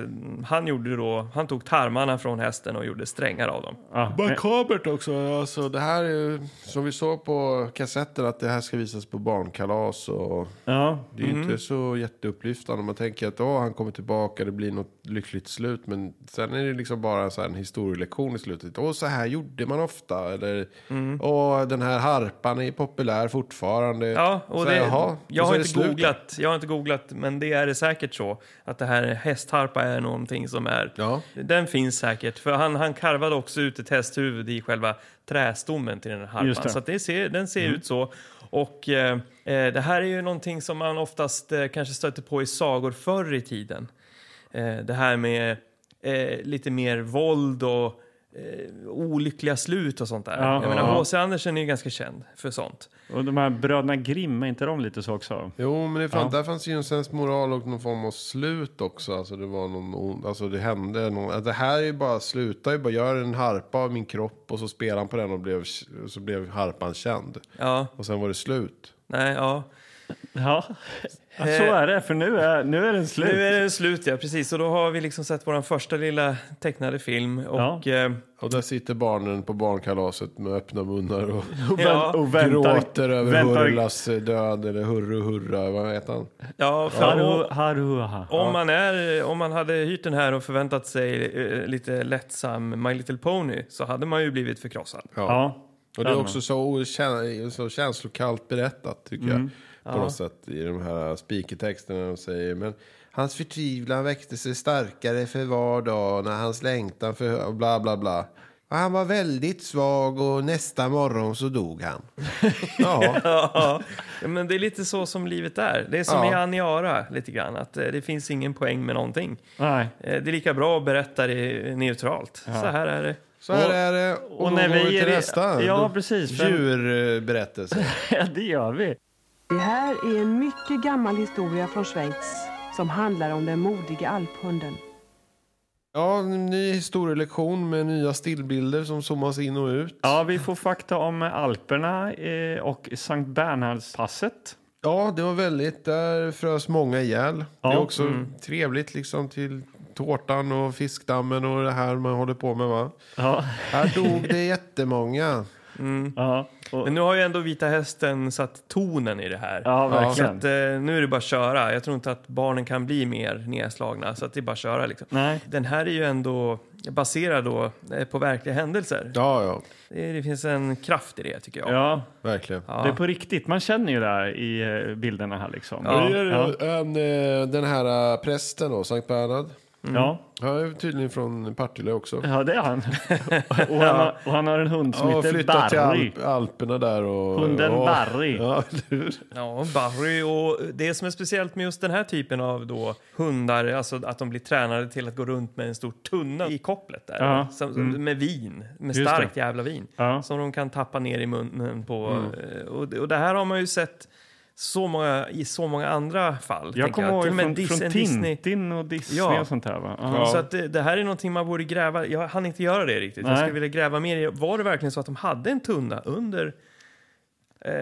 han gjorde då, han tog tarmarna från hästen och gjorde strängar av dem.
Ja, men-
Makabert också. Alltså, det här är ju, som vi såg på kassetten, att det här ska visas på barnkalas. Och
ja.
det är ju
Mm.
inte så jätteupplyftande. Man tänker att åh, han kommer tillbaka, det blir något lyckligt slut. Men sen är det liksom bara så här en historielektion i slutet. Åh, så här gjorde man ofta. Eller
Mm.
åh, den här harpan är populär fortfarande.
Ja, och
så,
det,
här, jaha.
jag,
Och så
har
är det
inte
slut.
googlat, jag har inte googlat, men det är det säkert så att det här hästharpa är någonting som är...
Ja.
Den finns säkert, för han, han karvade också ut ett hästhuvud i själva trästommen till den här
Just
harpan.
det.
Så att det ser, den
Mm.
ser ut så. Och eh, eh, det här är ju någonting som man oftast eh, kanske stöter på i sagor förr i tiden. Eh, det här med eh, lite mer våld och eh, olyckliga slut och sånt där.
Ja.
Jag menar,
Ja.
H.C. Andersen är ju ganska känd för sånt.
Och de här bröderna Grimm, är inte de lite så också?
Jo, men det fann, där fanns ju en sens moral och någon form av slut också. Alltså det var någon, ond- alltså det hände någon, att Det här är ju bara, sluta ju bara, gör en harpa av min kropp och så spelade han på den och blev, så blev harpan känd.
Ja,
Och sen var det slut.
nej, ja.
Ja, så är det, för nu är, nu är den slut.
Nu är det slut, ja. Precis. Och då har vi liksom sett vår första lilla tecknade film. Och, eh,
Och där sitter barnen på barnkalaset med öppna munnar och
[LAUGHS] ja,
och väntar,
gråter över
väntar,
Hurras död. Eller Hurru Hurra, vad heter han?
ja, för
Haru, haru, aha.
Om, man är, om man hade hyrt den här och förväntat sig eh, lite lättsam My Little Pony så hade man ju blivit förkrossad.
Ja.
Och det är också så, okä- så känslokallt berättat tycker
Mm.
jag. På något sätt i de här speakertexterna de säger. Men hans förtvivlan växte sig starkare för var dag när hans längtan för och bla bla bla. Och han var väldigt svag och nästa morgon så
[LAUGHS]
dog han. ja,
[LAUGHS] Ja, men det är lite så som livet är. Det är som
Ja.
i Aniara lite grann. Att eh, det finns ingen poäng med någonting.
Nej.
Eh, Det är lika bra att berätta det neutralt. Så här är det.
så här är det. Och,
och
då
när
går
vi
vi
är
till
i-
nästa.
ja,
Då-
precis, för-
Djurberättelse.
Ja, det gör vi.
Det här är en mycket gammal historia från Schweiz som handlar om den modiga alphunden.
Ja, en ny historielektion med nya stillbilder som zoomas in och ut.
Ja, vi får fakta om Alperna eh, och Sankt Bernhards-passet.
Ja, det var väldigt. Där frös många ihjäl. det är
Ja. mm.
också trevligt liksom till tårtan och fiskdammen och det här man håller på med va?
Ja.
Här dog det jättemånga.
Ja. Och,
Men nu har ju ändå Vita Hästen satt tonen i det här.
ja,
Så
verkligen.
att, eh, nu är det bara att köra. Jag tror inte att barnen kan bli mer nedslagna. Så att det är bara att köra. Liksom.
Nej.
Den här är ju ändå baserad då, eh, på verkliga händelser.
Ja, ja,
Det, det finns en kraft i det tycker jag.
Ja,
verkligen.
det är på riktigt. Man känner ju det här i eh, bilderna här liksom.
Ja.
Det är en, eh, den här eh, prästen då, Sankt Bernhard.
Ja.
Han är tydligen från Partille också.
Ja, det är [LAUGHS] han. Och han, har, och han har en hund som
Ja, och
heter
flyttat till
Barry.
Alp, Alperna där och...
Hunden
ja.
Barry.
Ja, eller hur?
Ja, Barry och det som är speciellt med just den här typen av då hundar, alltså att de blir tränade till att gå runt med en stor tunna i kopplet där.
Ja. Mm.
Som, Med vin, med
Just
starkt
det.
jävla vin.
Ja. Mm.
Som de kan tappa ner i munnen på. eh, Och, och det här har man ju sett så många, i så många andra fall.
Jag
tänker
kommer ihåg
Till och med
från,
Dis-
från
en
Tintin och Disney
Ja.
och sånt här va? Ja.
Så att det, det här är någonting man borde gräva. Jag hann inte göra det riktigt.
Nej.
Jag skulle vilja gräva mer i. Var det verkligen så att de hade en tunna under? Eh,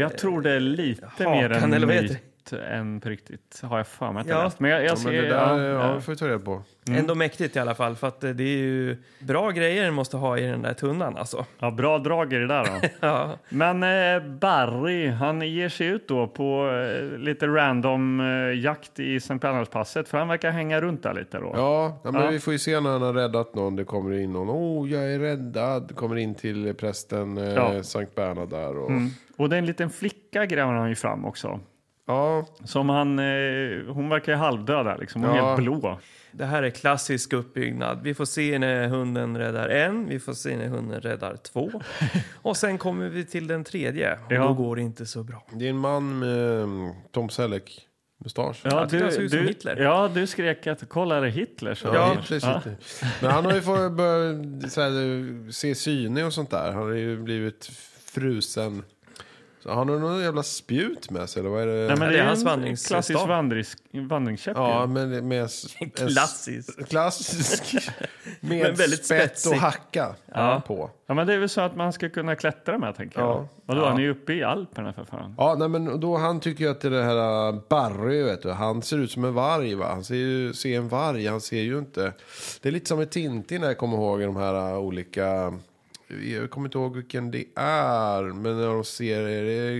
Jag tror det är lite
Hakan,
mer en
eller vad heter
myt än på riktigt, har jag för mig att
Ja.
jag läst. Men jag, jag
Ja,
ser,
men det
ja,
där ja,
ja.
det får vi ta reda på.
Ändå mäktigt i alla fall. För att eh, det är ju bra grejer den måste ha i den där tunnan alltså. [LAUGHS]
Ja, bra drag i det där [LAUGHS] då.
Ja,
Men eh, Barry, han ger sig ut då på eh, lite random eh, jakt i Sankt Bernhardspasset för han verkar hänga runt där lite då.
Ja, ja, men
Ja.
vi får ju se när han har räddat någon. Det kommer in någon. Oh, jag är räddad. Kommer in till prästen eh,
Ja. Mm.
Sankt Bernhard där. Och,
Och det är en liten flicka gräver han ju fram också.
Ja,
Som han, eh, hon verkar ju halvdöd där liksom, hon är
Ja.
helt blå.
det här är klassisk uppbyggnad. Vi får se när hunden räddar en, vi får se när hunden räddar två. Och sen kommer vi till den tredje. Och
Ja.
då går det inte så bra.
det är en man med mm, Tom Selleck-mustasch.
Ja,
Jag tyckte han såg ut som Hitler.
Ja, du skrek att kolla är det Hitler? Så
Ja, Hitler sitter. Men han har ju fått börja så här, se syne och sånt där. Han har ju blivit frusen Så Har han någon jävla spjut med sig eller vad är det?
Nej, men
det är
ju
hans
en
vandringsstav.
Klassisk vandrings, vandringskäpp.
Ja,
Ja.
men med... s- en s-
Klassisk.
Klassisk. Med
Men väldigt
spett
spetsig.
och hacka på.
ja, men det är väl så att man ska kunna klättra med, tänker jag.
Ja.
Vadå, han är ju uppe i Alperna för fan.
Ja, nej, men då han tycker ju att det är det här äh, Barry, vet du, han ser ut som en varg. Va? Han ser ju ser en varg, han ser ju inte... Det är lite som i Tintin, jag kommer ihåg, i de här äh, olika... Jag kommer inte ihåg vilken det är, men när de ser, är det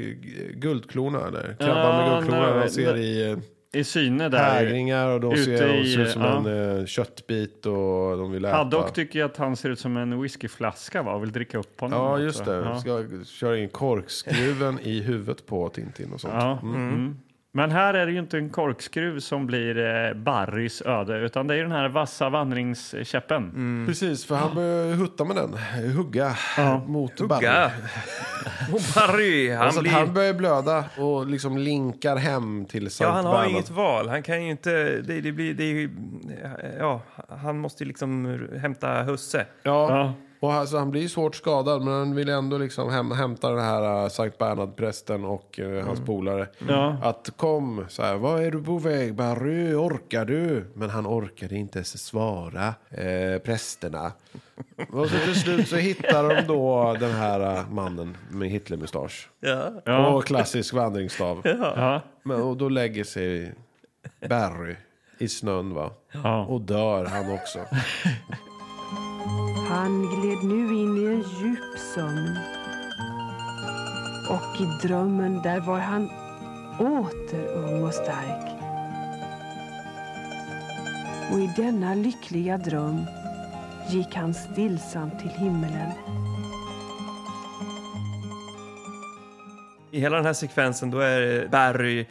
Guldklorna eller? Krabban med
Ja,
Guldklorna,
nej,
de ser
nej.
i äh,
I syne där.
hägringar och de
ute
ser, de
i,
ser ut som
ja.
en äh, köttbit och de vill äta.
Haddock tycker ju att han ser ut som en whiskyflaska, va? Och vill dricka upp honom.
Ja,
också.
just det.
Ja.
Ska köra in korkskruven i huvudet på Tintin och sånt.
Ja. Mm. Men här är det ju inte en korkskruv som blir eh, Barrys öde utan det är ju den här vassa vandringskäppen.
Mm. Precis, för han börjar ju hutta med den. Hugga mot
Hugga.
Barry.
[LAUGHS] Och Barry, han
så att
blir...
han börjar blöda och liksom linkar hem till Sankt
Ja, han har ju
Bernhard.
inget val. Han kan ju inte... Det, det blir, det är ju, ja, han måste ju liksom hämta husse.
Ja.
Ja.
Och alltså, han blir ju svårt skadad men han vill ändå liksom hem, hämta den här äh, Sankt Bernhard-prästen och eh, hans polare.
Mm. Ja.
Att kom, så här, vad är du på väg Barry, orkar du? Men han orkade inte ens svara eh, prästerna. och så till slut så hittar de då den här eh, mannen med Hitlermustasch.
Ja.
Ja.
Och klassisk vandringsstav.
Ja.
Men, och då lägger sig Barry i snön va.
Ja.
Och dör
[LAUGHS]
han också.
Han gled nu in i en djup sömn. Och i drömmen där var han åter ung och stark. Och i denna lyckliga dröm gick han stillsamt till himmelen.
I hela den här sekvensen då är Barry...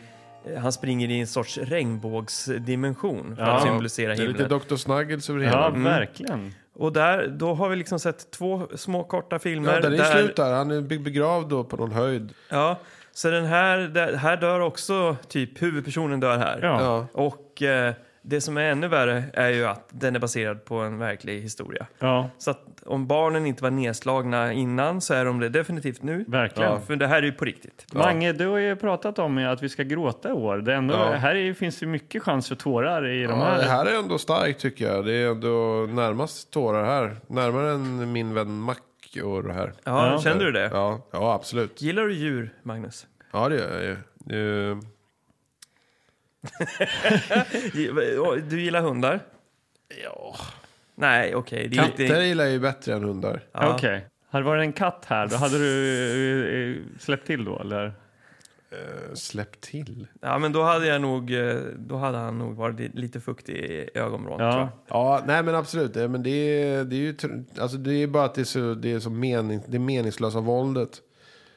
eh, Han springer i en sorts regnbågsdimension för
Ja.
att symbolisera
Det är
himlen.
lite Dr. Snuggles över det hela.
Ja, verkligen.
Och där, då har vi liksom sett två små korta filmer.
Ja, den är
där,
slut där. Han är be- begravd då på någon höjd.
Ja, så den här, där, här dör också typ huvudpersonen dör här.
Ja.
Ja.
Och eh, det som är ännu värre är ju att den är baserad på en verklig historia.
Ja,
Så att om barnen inte var nedslagna innan så är de det definitivt nu.
verkligen.
Ja, För det här är ju på riktigt.
Mange, du har ju pratat om att vi ska gråta i år. Det ändå,
Ja.
Här är, finns det mycket chans för tårar i de
Ja,
här.
det här är ändå starkt tycker jag. Det är ändå närmast tårar här. Närmare än min vän Mac och det här.
Ja,
Ja.
kände du det?
Ja, ja absolut.
Gillar du djur, Magnus?
Ja, det gör jag ju. Eh,
Du gillar hundar? Ja. Nej, okej. det är
Katter
inte-
gillar jag ju bättre än hundar.
Ja.
Okej. Hade det varit en katt här, då hade du eh, eh, släppt till då, eller?
Eh, Släpp till.
Ja, men då hade, jag nog, eh, då hade han nog varit lite fuktig i ögonvrån, tror
Ja.
jag.
Ja, nej men absolut. Eh, Men det, är, det är ju tr- alltså, det är bara att det är så, det är så mening, det meningslösa våldet.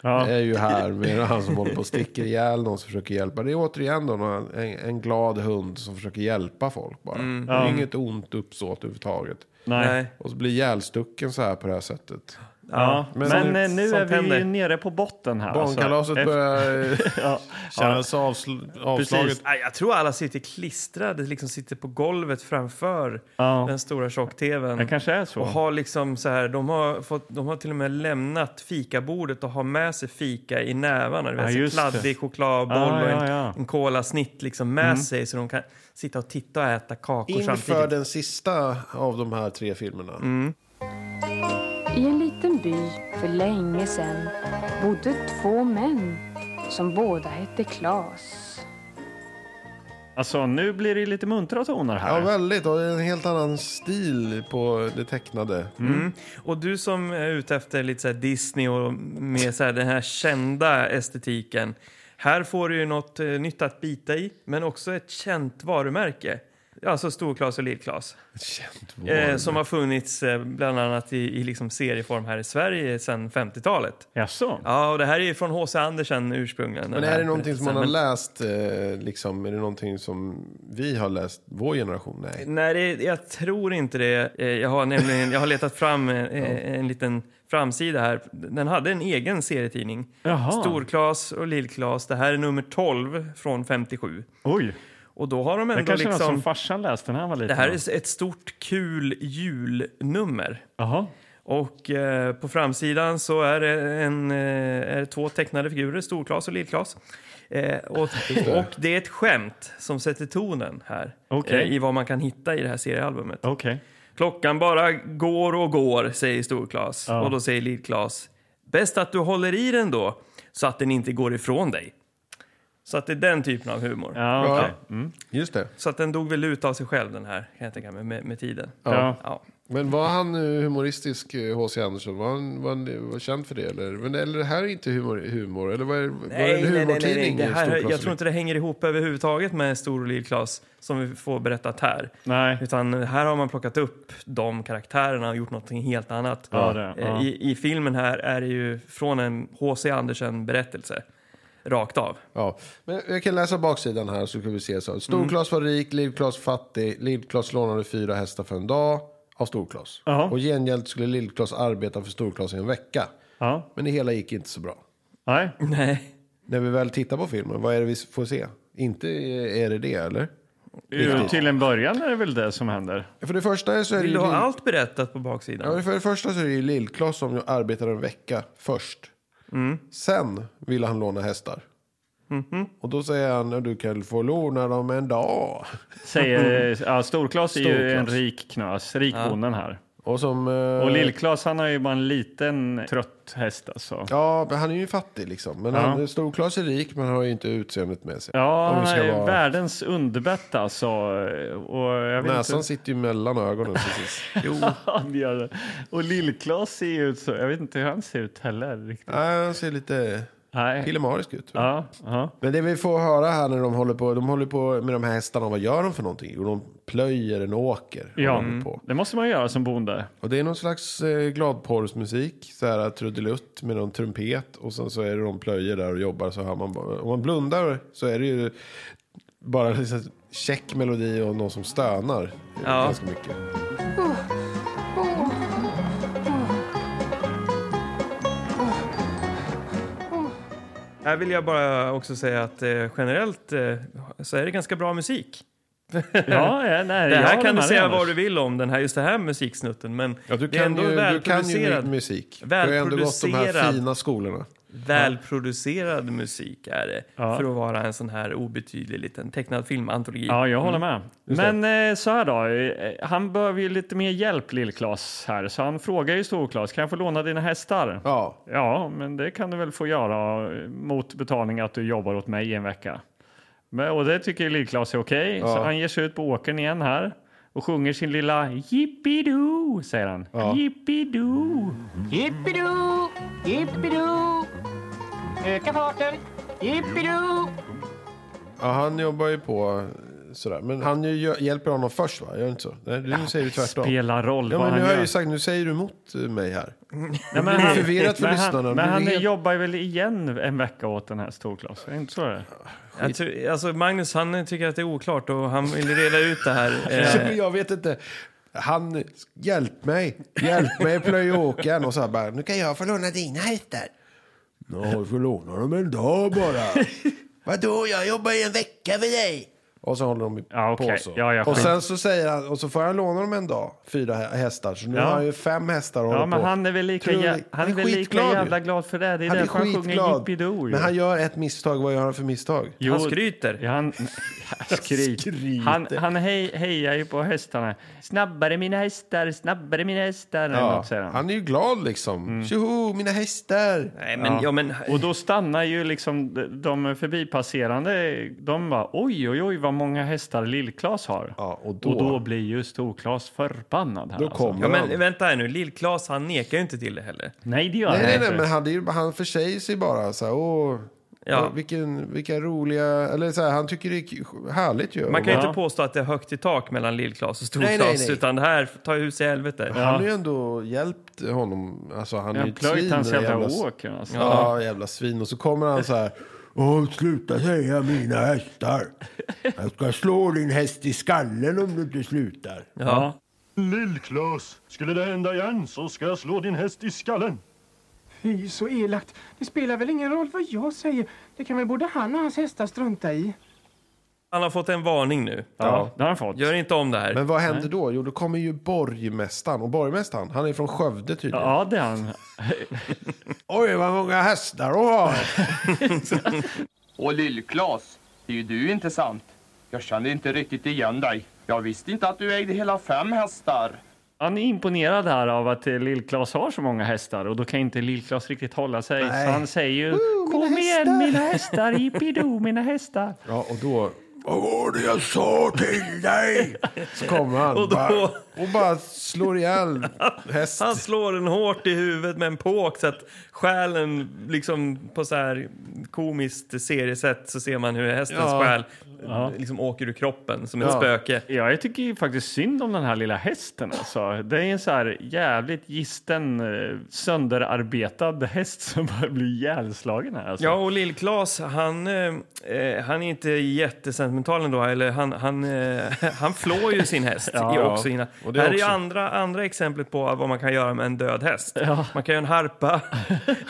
Ja.
är ju här med [LAUGHS] han som håller på och sticker ihjäl någon som försöker hjälpa. Det är återigen då en, en glad hund som försöker hjälpa folk bara.
Mm.
Det är inget ont uppsåt överhuvudtaget.
Nej.
Nej.
Och så blir ihjälstucken så här på det här sättet.
Ja.
men
Men,
som-
eh, nu
som
är vi
tänder.
ju nere på botten här. alltså.
Barnkalaset
Efter-
börjar
[LAUGHS] Ja.
kännas avsl- avslaget.
Precis.
Nej, jag tror alla sitter klistrade, liksom sitter på golvet framför
Ja.
den stora tjock-tvn.
Det kanske är så.
Och har liksom så här, de har, fått, de har till och med lämnat fikabordet och har med sig fika i nävarna. Du
Ja,
vet, så
just
kladdig chokladboll
Ah,
och
ja,
en,
ja. Mm.
en kolasnitt liksom med sig så de kan sitta och titta och äta kakor
Inför
samtidigt.
den sista av de här tre filmerna.
Mm.
I en liten by för länge sedan bodde två män som båda hette Klas.
Alltså, nu blir det lite muntra toner
Ja,
här.
väldigt. Och det är en helt annan stil på det tecknade.
Mm.
Och du som är ute efter lite så här Disney och med så här den här kända estetiken. Här får du ju något eh, nytt att bita i, men också ett känt varumärke. Alltså Storklas och Lillklas.
Känt
Eh, som har funnits eh, bland annat i, i liksom serieform här i Sverige sedan 50-talet.
Jaså?
Ja, och det här är ju från H.C. Andersen ursprungligen.
Men
den
är
här
det någonting som man har
berättelsen.
läst, eh, liksom, är det någonting som vi har läst, vår generation? Nej.
Men- Nej, det, jag tror inte det. Eh, Jag har nämligen jag har letat fram eh, en liten framsida här. Den hade en egen serietidning.
Jaha.
Storklas och Lillklas. Det här är nummer 12 från 57.
Oj.
Och då har de
Det
ändå
kanske är något som
liksom...
farsan läste när han var liten.
Det här är ett stort kul julnummer.
Jaha.
Och eh, på framsidan så är det, en, eh, är det två tecknade figurer, Storklas och Lillklas. Eh, och, och det är ett skämt som sätter tonen här
Okej.
eh, i vad man kan hitta i det här seriealbumet.
Okej.
Klockan bara går och går, säger Storklas.
Ja.
Och då säger Lillklas, bäst att du håller i den då, så att den inte går ifrån dig. Så att det är den typen av humor.
Ja, okej.
Just det.
Så att den dog väl ut av sig själv den här, kan jag tänka mig, med, med tiden.
Ja.
Ja.
Men var han eh, humoristisk, eh, H.C. Andersen? Var han, var han var känd för det? Eller, men, eller det här är inte humor? humor eller var, var det en humortidning?
Det här,
Storklas?
jag tror inte det hänger ihop överhuvudtaget med Stor och Lillklas som vi får berättat här.
Nej.
Utan här har man plockat upp de karaktärerna och gjort någonting helt annat. Eh,
Ja, det, ja.
I, I filmen här är det ju från en H.C. Andersen-berättelse. Rakt av.
Ja, men jag kan läsa baksidan här så kan vi se så. Storklas var rik, Lillklas fattig. Lillklas lånade fyra hästar för en dag av Storklas.
Ja.
Och gengäld skulle Lillklas arbeta för Storklas i en vecka.
Ja.
Men det hela gick inte så bra.
Nej.
Nej.
När vi väl tittar på filmen, vad är det vi får se? Inte eh, är det det, eller?
Ju, till en början är det väl det som händer.
För det första så är det
Vill
ju...
du ha
Lill-
allt berättat på
Ja,
baksidan?
men för det första så är det ju Lillklas som ju arbetar en vecka först. Sen ville han låna hästar. Och då säger han att du kan få låna dem en dag.
Säger, ja, Storklas är ju en
Storklas.
rik knas, rikbonden här.
Och som... eh,
Och Lillklas han har ju bara en liten trött häst alltså.
Ja, men han är ju fattig liksom. Men han, Storklas är rik, men han har ju inte utseendet med sig.
Ja,
Om vi
han
ska
är ju
vara-
världens underbett alltså. Och jag vet [LAUGHS]
Näsan
inte,
sitter ju mellan ögonen precis.
Jo.
han gör det. Och Lillklas ser ju ut så. Jag vet inte hur han ser ut heller riktigt.
Nej, han ser lite
Nej.
pillemarisk ut. tror jag.
Ja, ja.
Men det vi får höra här när de håller på, de håller på med de här hästarna, vad gör de för någonting? Jo, de plöjer en åker. håller
Ja,
de
Mm.
på.
det måste man göra som bonde.
Och det är någon slags eh, gladporrsmusik, så här trudelutt med någon trumpet och sen så är det de plöjer där och jobbar så hör man bara, om man blundar så är det ju bara liksom check melodi och någon som stönar
Ja.
ganska mycket.
Här vill jag bara också säga att eh, generellt eh, så är det ganska bra musik.
Ja, ja, nej,
Det
jag
här
håller
kan du
med dig,
säga
Anders.
vad du vill om, den här, just den här musiksnutten, men
Ja, du
det är
kan,
ändå
ju, du kan ju
välproducerad,
musik. Du har ju ändå gått de här
Välproducerad.
fina skolorna.
välproducerad musik är det
Ja.
för att vara en sån här obetydlig liten tecknad filmantologi.
Ja,
Mm.
jag håller med. Men eh, så här då, eh, han behöver ju lite mer hjälp, Lill-Klas här, så han frågar ju Stor-Klas, kan jag få låna dina hästar?
Ja,
Ja, men det kan du väl få göra eh, mot betalning att du jobbar åt mig i en vecka. Men, och det tycker Lill-Klas är okej, så han ger sig ut på åkern igen här och sjunger sin lilla Jippi-Doo, säger han. Ja. Jippi-Doo.
Jippidoo, jippidoo. Öka farten. Jippidoo.
ja han jobbar ju på eh, sådär. Men han ju, gö- hjälper honom först va? Gör du inte så? Nej, nu säger du tvärtom.
Spelar roll
Ja,
vad
men nu
han
har
gör.
jag ju sagt, nu säger du emot eh, mig här.
Nej, men
Det blir förvirrat för
men
lyssnarna.
Han, men
Det blir
han
helt-
jobbar ju väl igen en vecka åt den här Stor-Klas, är det inte så det är?
Jag tror- Alltså, Magnus han tycker att det är oklart och han vill reda ut det [LAUGHS] här. Eh,
Men Jag vet inte. Han, hjälp mig, hjälp mig plöja åkern. Och så här bara, nu kan jag få låna dina hästar. Ja, du får låna dem en dag bara. [LAUGHS] Vadå, jag jobbar ju en vecka för dig. Och så håller de
Ja, okej.
på så.
Ja, ja,
och
skit.
sen så säger han, och så får han låna dem en dag, fyra hä- hästar. Så nu
Ja.
har han ju fem hästar att
Ja,
hålla
men
på.
han är väl lika,
Tror-
jä- han är väl lika
skitglad ju.
jävla glad för det. Det är
Han är
därför han sjunger
skitglad.
Jippi-Doo. ju.
Men han gör ett misstag, vad gör han för misstag?
Jo,
Han skryter.
Ja, han, han skryter.
skryter.
Han, han hej, hejar ju på hästarna. Snabbare mina hästar, snabbare mina hästar. eller
Ja,
något, säger han. Mm.
han är ju glad liksom. Tjoho, mina hästar!
Nej, men, ja, men,
Och då stannar ju liksom de- de förbipasserande. De bara oj, oj, oj vad många hästar Lill-Klas har.
Ja, och då-
blir ju Stor-Klas förbannad. Här, alltså.
Då kommer
ja,
han.
men vänta här nu, Lill-Klas han nekar ju inte till det heller.
Nej, det gör han
Nej, nej,
inte.
nej men han, det är ju- han försäger sig bara så här, åh,
Ja.
vilken, vilka roliga, eller så här, han tycker det är k- härligt ju.
Man kan ju
Ja.
inte påstå att det är högt i tak mellan Lill-Klas och
Nej, nej,
Stor-Klas
nej.
utan det här tar ju hus i helvete.
Han har ju ändå hjälpt honom, alltså han är ju
Han
ett svin.
plöjt hans
den
jävla
s-
åker. Alltså.
Ja, jävla svin. Och så kommer han så här, åh, sluta säga mina hästar. Jag ska slå din häst i skallen om du inte slutar.
Ja.
Lill-Klas, skulle det hända igen så ska jag slå din häst i skallen.
Fy, så elakt. Det spelar väl ingen roll vad jag säger. Det kan väl både han och hans hästar strunta i.
Han har fått en varning nu.
Ja, det har han fått.
Gör inte om det här.
Men vad händer då? Jo, då kommer ju borgmästaren. Och borgmästaren, han är från Skövde tydligen.
Ja, det har han.
Oj, vad många hästar du har!
Och Lill-Klas, det är ju du inte sant. Jag kände inte riktigt igen dig. Jag visste inte att du ägde hela fem hästar.
Han är imponerad här av att eh, Lill-Klas har så många hästar och då kan inte Lill-Klas riktigt hålla sig. Så han säger ju Kom igen mina [LAUGHS] hästar, jippido mina hästar.
Ja, och då... Vad var det jag sa till dig? Så kommer han och,
då-
bara, och bara
[LAUGHS]
slår ihjäl häst.
Han slår den hårt i huvudet med en påk så att själen liksom på så här komiskt seriesätt så ser man hur hästens
Ja.
själ eh, liksom åker ur kroppen som ett
Ja.
spöke.
Ja, jag tycker ju faktiskt synd om den här lilla hästen. Alltså. Det är en så här jävligt gisten, eh, sönderarbetad häst [LAUGHS] som bara blir ihjälslagen här. Alltså.
Ja, och Lill-Klas, han, eh, eh, han är inte jättesentimental ändå. Eller han, han, eh, [LAUGHS] han flår ju sin häst
Ja.
i också innan.
Och det
Här är ju
också.
andra, andra exemplet på vad man kan göra med en död häst. Man kan göra en
[LAUGHS]
harpa.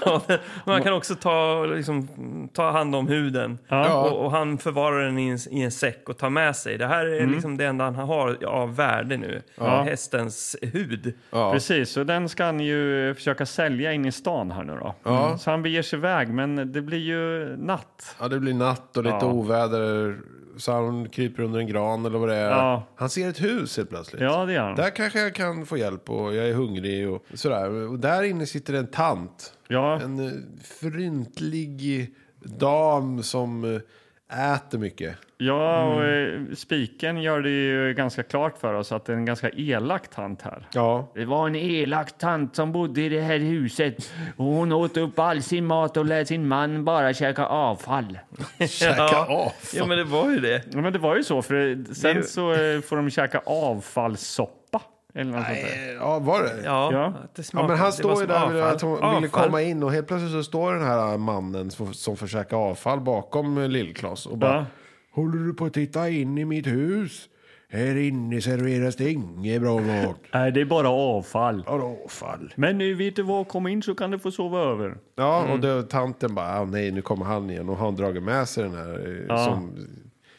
Ja, men man kan också ta, liksom, ta hand om huden.
Ja.
Och, och han förvarar den i en, i en säck och tar med sig. Det här är
Mm.
liksom det enda han har av värde nu. Hästens hud.
Ja.
Precis, och den ska han ju eh, försöka sälja in i stan här nu då. Mm.
Ja.
Så han beger sig iväg, men det blir ju natt.
ja, det blir natt och lite
Ja.
oväder. Så han kryper under en gran eller vad det är.
Ja.
Han ser ett hus helt plötsligt.
Ja, det gör han.
Där kanske jag kan få hjälp och jag är hungrig och sådär. Och där inne sitter en tant.
Ja,
En eh, fryntlig dam som eh, äter mycket.
ja och eh, spiken gör det ju ganska klart för oss att det är en ganska elak tant här.
Ja.
Det var en elak tant som bodde i det här huset. Hon åt upp all sin mat och lät sin man bara käka avfall.
Käka av.
Ja, men det var ju det.
Ja, men det var ju så, för det- sen
Det är ju-
så eh, får de käka avfallssoppa. Eller något sånt där.
Ja, var det?
Ja,
Ja.
att det
Ja,
smakade-
men
det var
han står ju
som
där och vill att hon ville
Avfall.
komma in och helt plötsligt så står den här mannen som, som får käka avfall bakom eh, Lill-Klas och bara
Ja.
Håller du på att titta in i mitt hus? Här inne serveras det inget bra mat.
Nej, det är bara avfall.
Ja, då, avfall.
Men nu vet du vad, kom in så kan du få sova över.
Ja, och då tanten bara, ah, nej nu kommer han igen och har han dragit med sig den här eh,
Ja.
som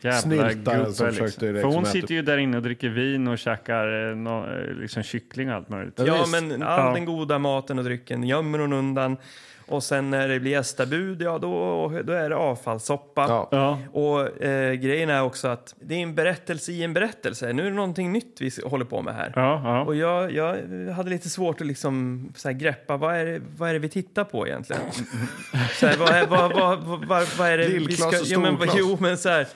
Jävla
Snyltaren
gubbe,
som
liksom.
försökte liksom
För hon
äta-
sitter ju där inne och dricker vin och käkar eh, nå- eh, liksom kyckling och allt möjligt.
Ja,
Visst.
men all
Ja.
den goda maten och drycken gömmer hon undan. Och sen när det blir gästabud, ja då, då är det avfallssoppa.
Ja.
Ja.
Och eh, grejen är också att det är en berättelse i en berättelse. Nu är det någonting nytt vi håller på med här.
Ja, ja.
Och jag, jag hade lite svårt att liksom så här greppa, vad är, det, vad är det vi tittar på egentligen? så här, vad, är- vad, vad, vad, vad, vad är det vi
Lillklass
ska...
och
Jo, men,
storklass.
jo, men så här...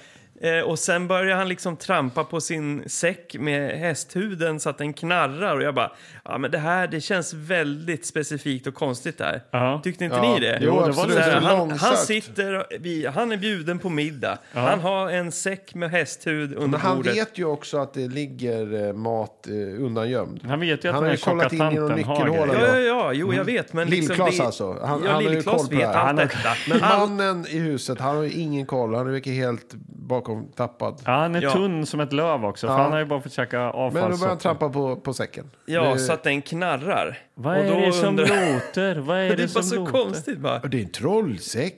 Eh, och sen börjar han liksom trampa på sin säck med hästhuden så att den knarrar och jag bara, ja men det här, det känns väldigt specifikt och konstigt det här.
Ja.
Tyckte inte
Ja,
ni det?
jo,
Så här,
absolut. Det är
han, han
långsökt.
sitter, vi, han är bjuden på middag, han har en säck med hästhud under
Men han
bordet.
vet ju också att det ligger eh, mat eh, undangömd.
Han vet ju att den
Han har
här
ju kollat
tjocka
in genom
tanten har
nyckelhålen.
grejer.
Ja, ja, ja, jo jag vet men liksom...
Mm. Lill-Klas
det-
alltså. Han,
ja,
han har ju
Lill-Klas
koll på det
vet allt
här.
Han har- [LAUGHS]
detta. Men all...
Mannen i huset, han har ju ingen koll. Han verkar helt bakom tappad.
Ja, han är
Ja.
tunn som ett löv också, för
Ja.
han har ju bara fått käka
Men då börjar han
avfallssoppa.
trampa på, på säcken.
Ja,
det,
så att den knarrar.
Vad
Och
[LAUGHS]
då
är det som
undrar-
låter? Vad är
[LAUGHS] Det
det,
är bara
som
så
låter?
konstigt bara.
det är en trollsäck.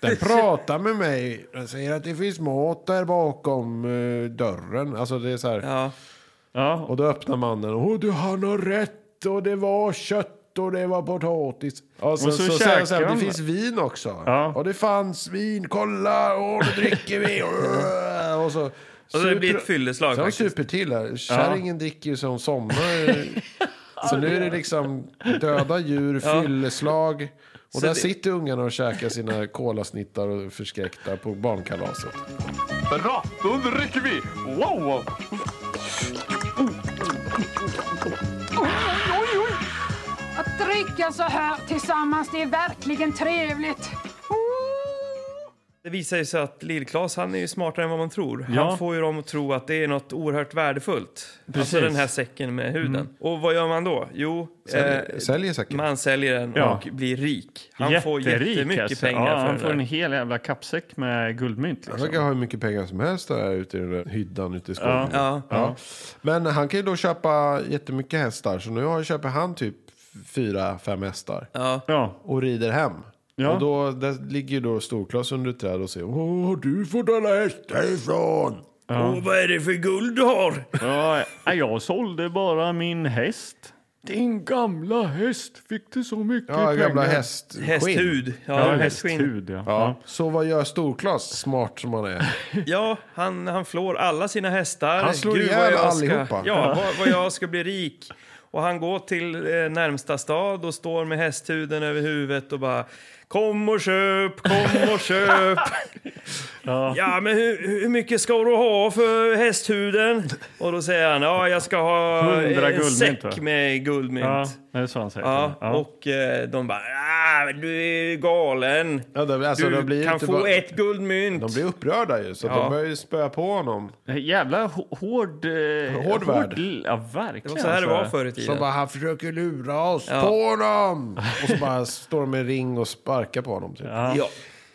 Den pratar med mig. Den säger att det finns mat där bakom eh, dörren. Alltså det är så här.
Ja.
Ja,
Och då öppnar mannen. Och du, han har rätt. Och det var kött och det var potatis. Och, sen,
Och så
så, säger han så här,
käkar
det
de-
finns vin också.
Ja.
Och det fanns vin. Kolla, och nu dricker vi. och så...
Och så det blir ett fylleslag
Sen
faktiskt.
super till här. Kärringen dricker ju så hon somnar.
[LAUGHS]
så nu är det liksom döda djur, fylleslag. Och där
det-
sitter ungarna och käkar sina kolasnittar och förskräckta på barnkalaset.
Bra, då dricker vi! Wow!
Att dricka så här tillsammans, det är verkligen trevligt.
Det visar ju sig att Lill-Klas, han är ju smartare än vad man tror.
Ja.
Han får ju dem att tro att det är något oerhört värdefullt.
Precis. Mm.
Alltså den här säcken med huden. Och vad gör man då? Jo,
Säljer,
eh,
säljer säkert.
man säljer den
Ja.
och blir rik. Han får
jätterik,
jättemycket
alltså.
pengar
ja,
för
Han
den
får
där.
en hel jävla kappsäck med guldmynt.
Han
Liksom.
verkar ha hur mycket pengar som helst där ute i den där hyddan ute i skogen.
Ja.
Ja. Men han kan ju då köpa jättemycket hästar. Så nu har- köper han typ fyra, fem hästar.
Ja,
Och rider hem. Och då, där ligger ju då Storklas under ett träd och säger Åh, har du fått alla hästar ifrån?
Ja.
Åh,
vad är det för guld du har?
Ja, jag sålde bara min häst. Din gamla häst fick du så mycket
Ja,
pengar.
gamla hästskinn.
Hästhud. Ja,
Ja,
hästskinn.
hästhud. Ja.
Ja. Så vad gör Storklas, smart som han är?
Ja, han, han flår alla sina hästar.
Han slår
Gud, vad
ihjäl
jag ska-
allihopa.
Ja, vad, vad jag ska bli rik. Och han går till eh, närmsta stad och står med hästhuden över huvudet och bara Kom och köp, kom och köp!
[LAUGHS] Ja.
Ja, men hur, hur mycket ska du ha för hästhuden? Och då säger han, ja, jag ska ha
100
en
guldmynt,
säck
va?"
med guldmynt.
Ja,
Ja,
det är så han säger.
Och eh, de bara, ah, men du är ju galen.
Ja, de, alltså,
du
de blir
kan
inte
få
bara-
ett guldmynt.
De blir upprörda ju, så
Ja.
de börjar ju spöa på honom.
Jävla hå- hård... eh,
Hård värld.
Ja, verkligen.
Det var så här det var
alltså.
förr i
Som
tiden.
bara, han försöker lura oss
Ja.
på honom! Och så bara står de i ring och sparkar på honom. Typ.
Ja.
Ja.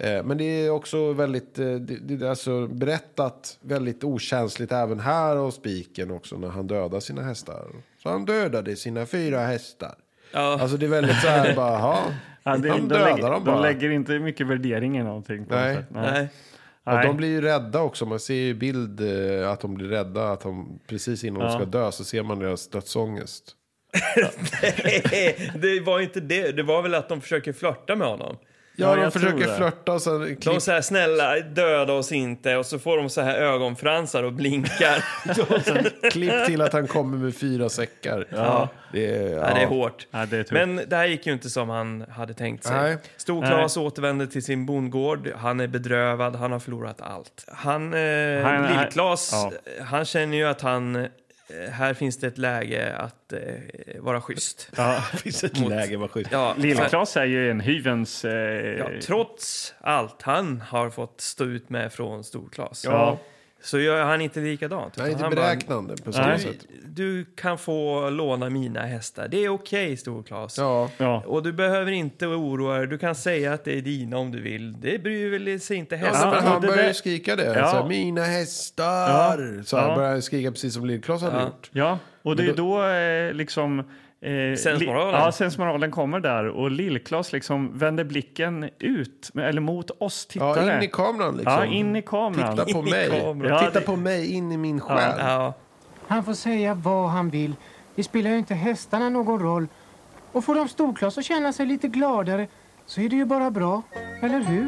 Eh, Men det är också väldigt, eh, det, det är alltså berättat väldigt okänsligt även här av spiken också när han dödar sina hästar. Så han dödade sina fyra hästar.
Ja.
Alltså det är väldigt så här bara, ja,
Ja, det, de,
han dödar
lägger,
dem
de
bara.
lägger inte mycket värdering i någonting. På
Nej.
något sätt.
[LAUGHS] Nej. [LAUGHS]
Och
Nej.
de blir ju rädda också, man ser ju i bild eh, att de blir rädda, att de precis innan de ska dö så ser man deras dödsångest.
det var inte det. Det var väl att de försöker flörta med honom.
Ja,
Ja, de
jag tror
försöker
det.
flörta och sen
De
klipp-
säger snälla döda oss inte och så får de så här ögonfransar och
[LAUGHS]
blinkar.
klipp till att han kommer med fyra säckar. Det, är, ja.
ja, det är hårt.
Ja, det är tufft.
Men det här gick ju inte som han hade tänkt sig.
Nej.
Storklas återvänder till sin bondgård. Han är bedrövad, han har förlorat allt. Han, eh,
Han- han-
Lillklas,
ja.
han känner ju att han... eh, Här finns det ett läge att eh, vara schysst. [LAUGHS]
Ja.
finns ett läge, vad schysst.
Ja,
Lill-Klas är ju en hyvens... Eh,
Ja, trots allt han har fått stå ut med från Storklas
Ja.
så gör han inte likadant.
Han är
utan
inte
bara,
beräknande på samma
Nej.
sätt.
du kan få låna mina hästar. Det är okej, Storklas.
Ja.
ja.
Och du behöver inte oroa dig. Du kan säga att det är dina om du vill. Det bryr väl sig inte
Ja,
hästarna.
men
men
han
det
börjar
där-
ju skrika det.
Ja.
Så här, Mina hästar! Så
Ja.
han börjar skrika precis som Lill-Klas hade
Ja.
gjort.
Ja, och det är då eh, liksom... Eh,
Sensmoralen.
li- Ja, sensmoralen kommer där och Lill-Klas liksom vänder blicken ut, eller mot oss tittare.
Ja, in i kameran liksom.
Ja, in i kameran.
Titta på
In i
mig.
kameran.
Ja,
Titta
det-
på mig in i min själ.
Ja.
Han får säga vad han vill. Det spelar ju inte hästarna någon roll. Och får de Storklas att känna sig lite gladare så är det ju bara bra, eller hur?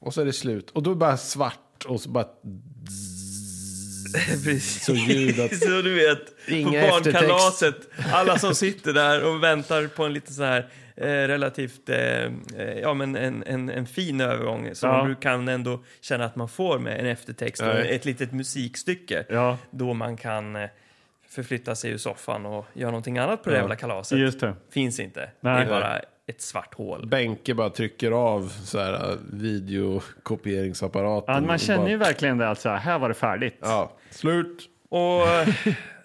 Och så är det slut. Och då är det bara svart och så bara
Precis.
så ljud att...
Så du vet, på
Inga
barnkalaset, alla som sitter där och väntar på en lite så här eh, relativt, eh, eh, ja men en, en, en fin övergång som
Ja.
du kan ändå känna att man får med en eftertext och
Nej.
ett litet musikstycke
Ja,
då man kan eh, förflytta sig ur soffan och göra någonting annat på det jävla kalaset.
just det.
Finns inte.
Nej.
Det är bara ett svart hål.
Benke bara trycker av så här äh, videokopieringsapparaten.
Ja, man
och
känner
bara-
ju verkligen det att så här, här var det färdigt.
Ja, slut.
Och eh,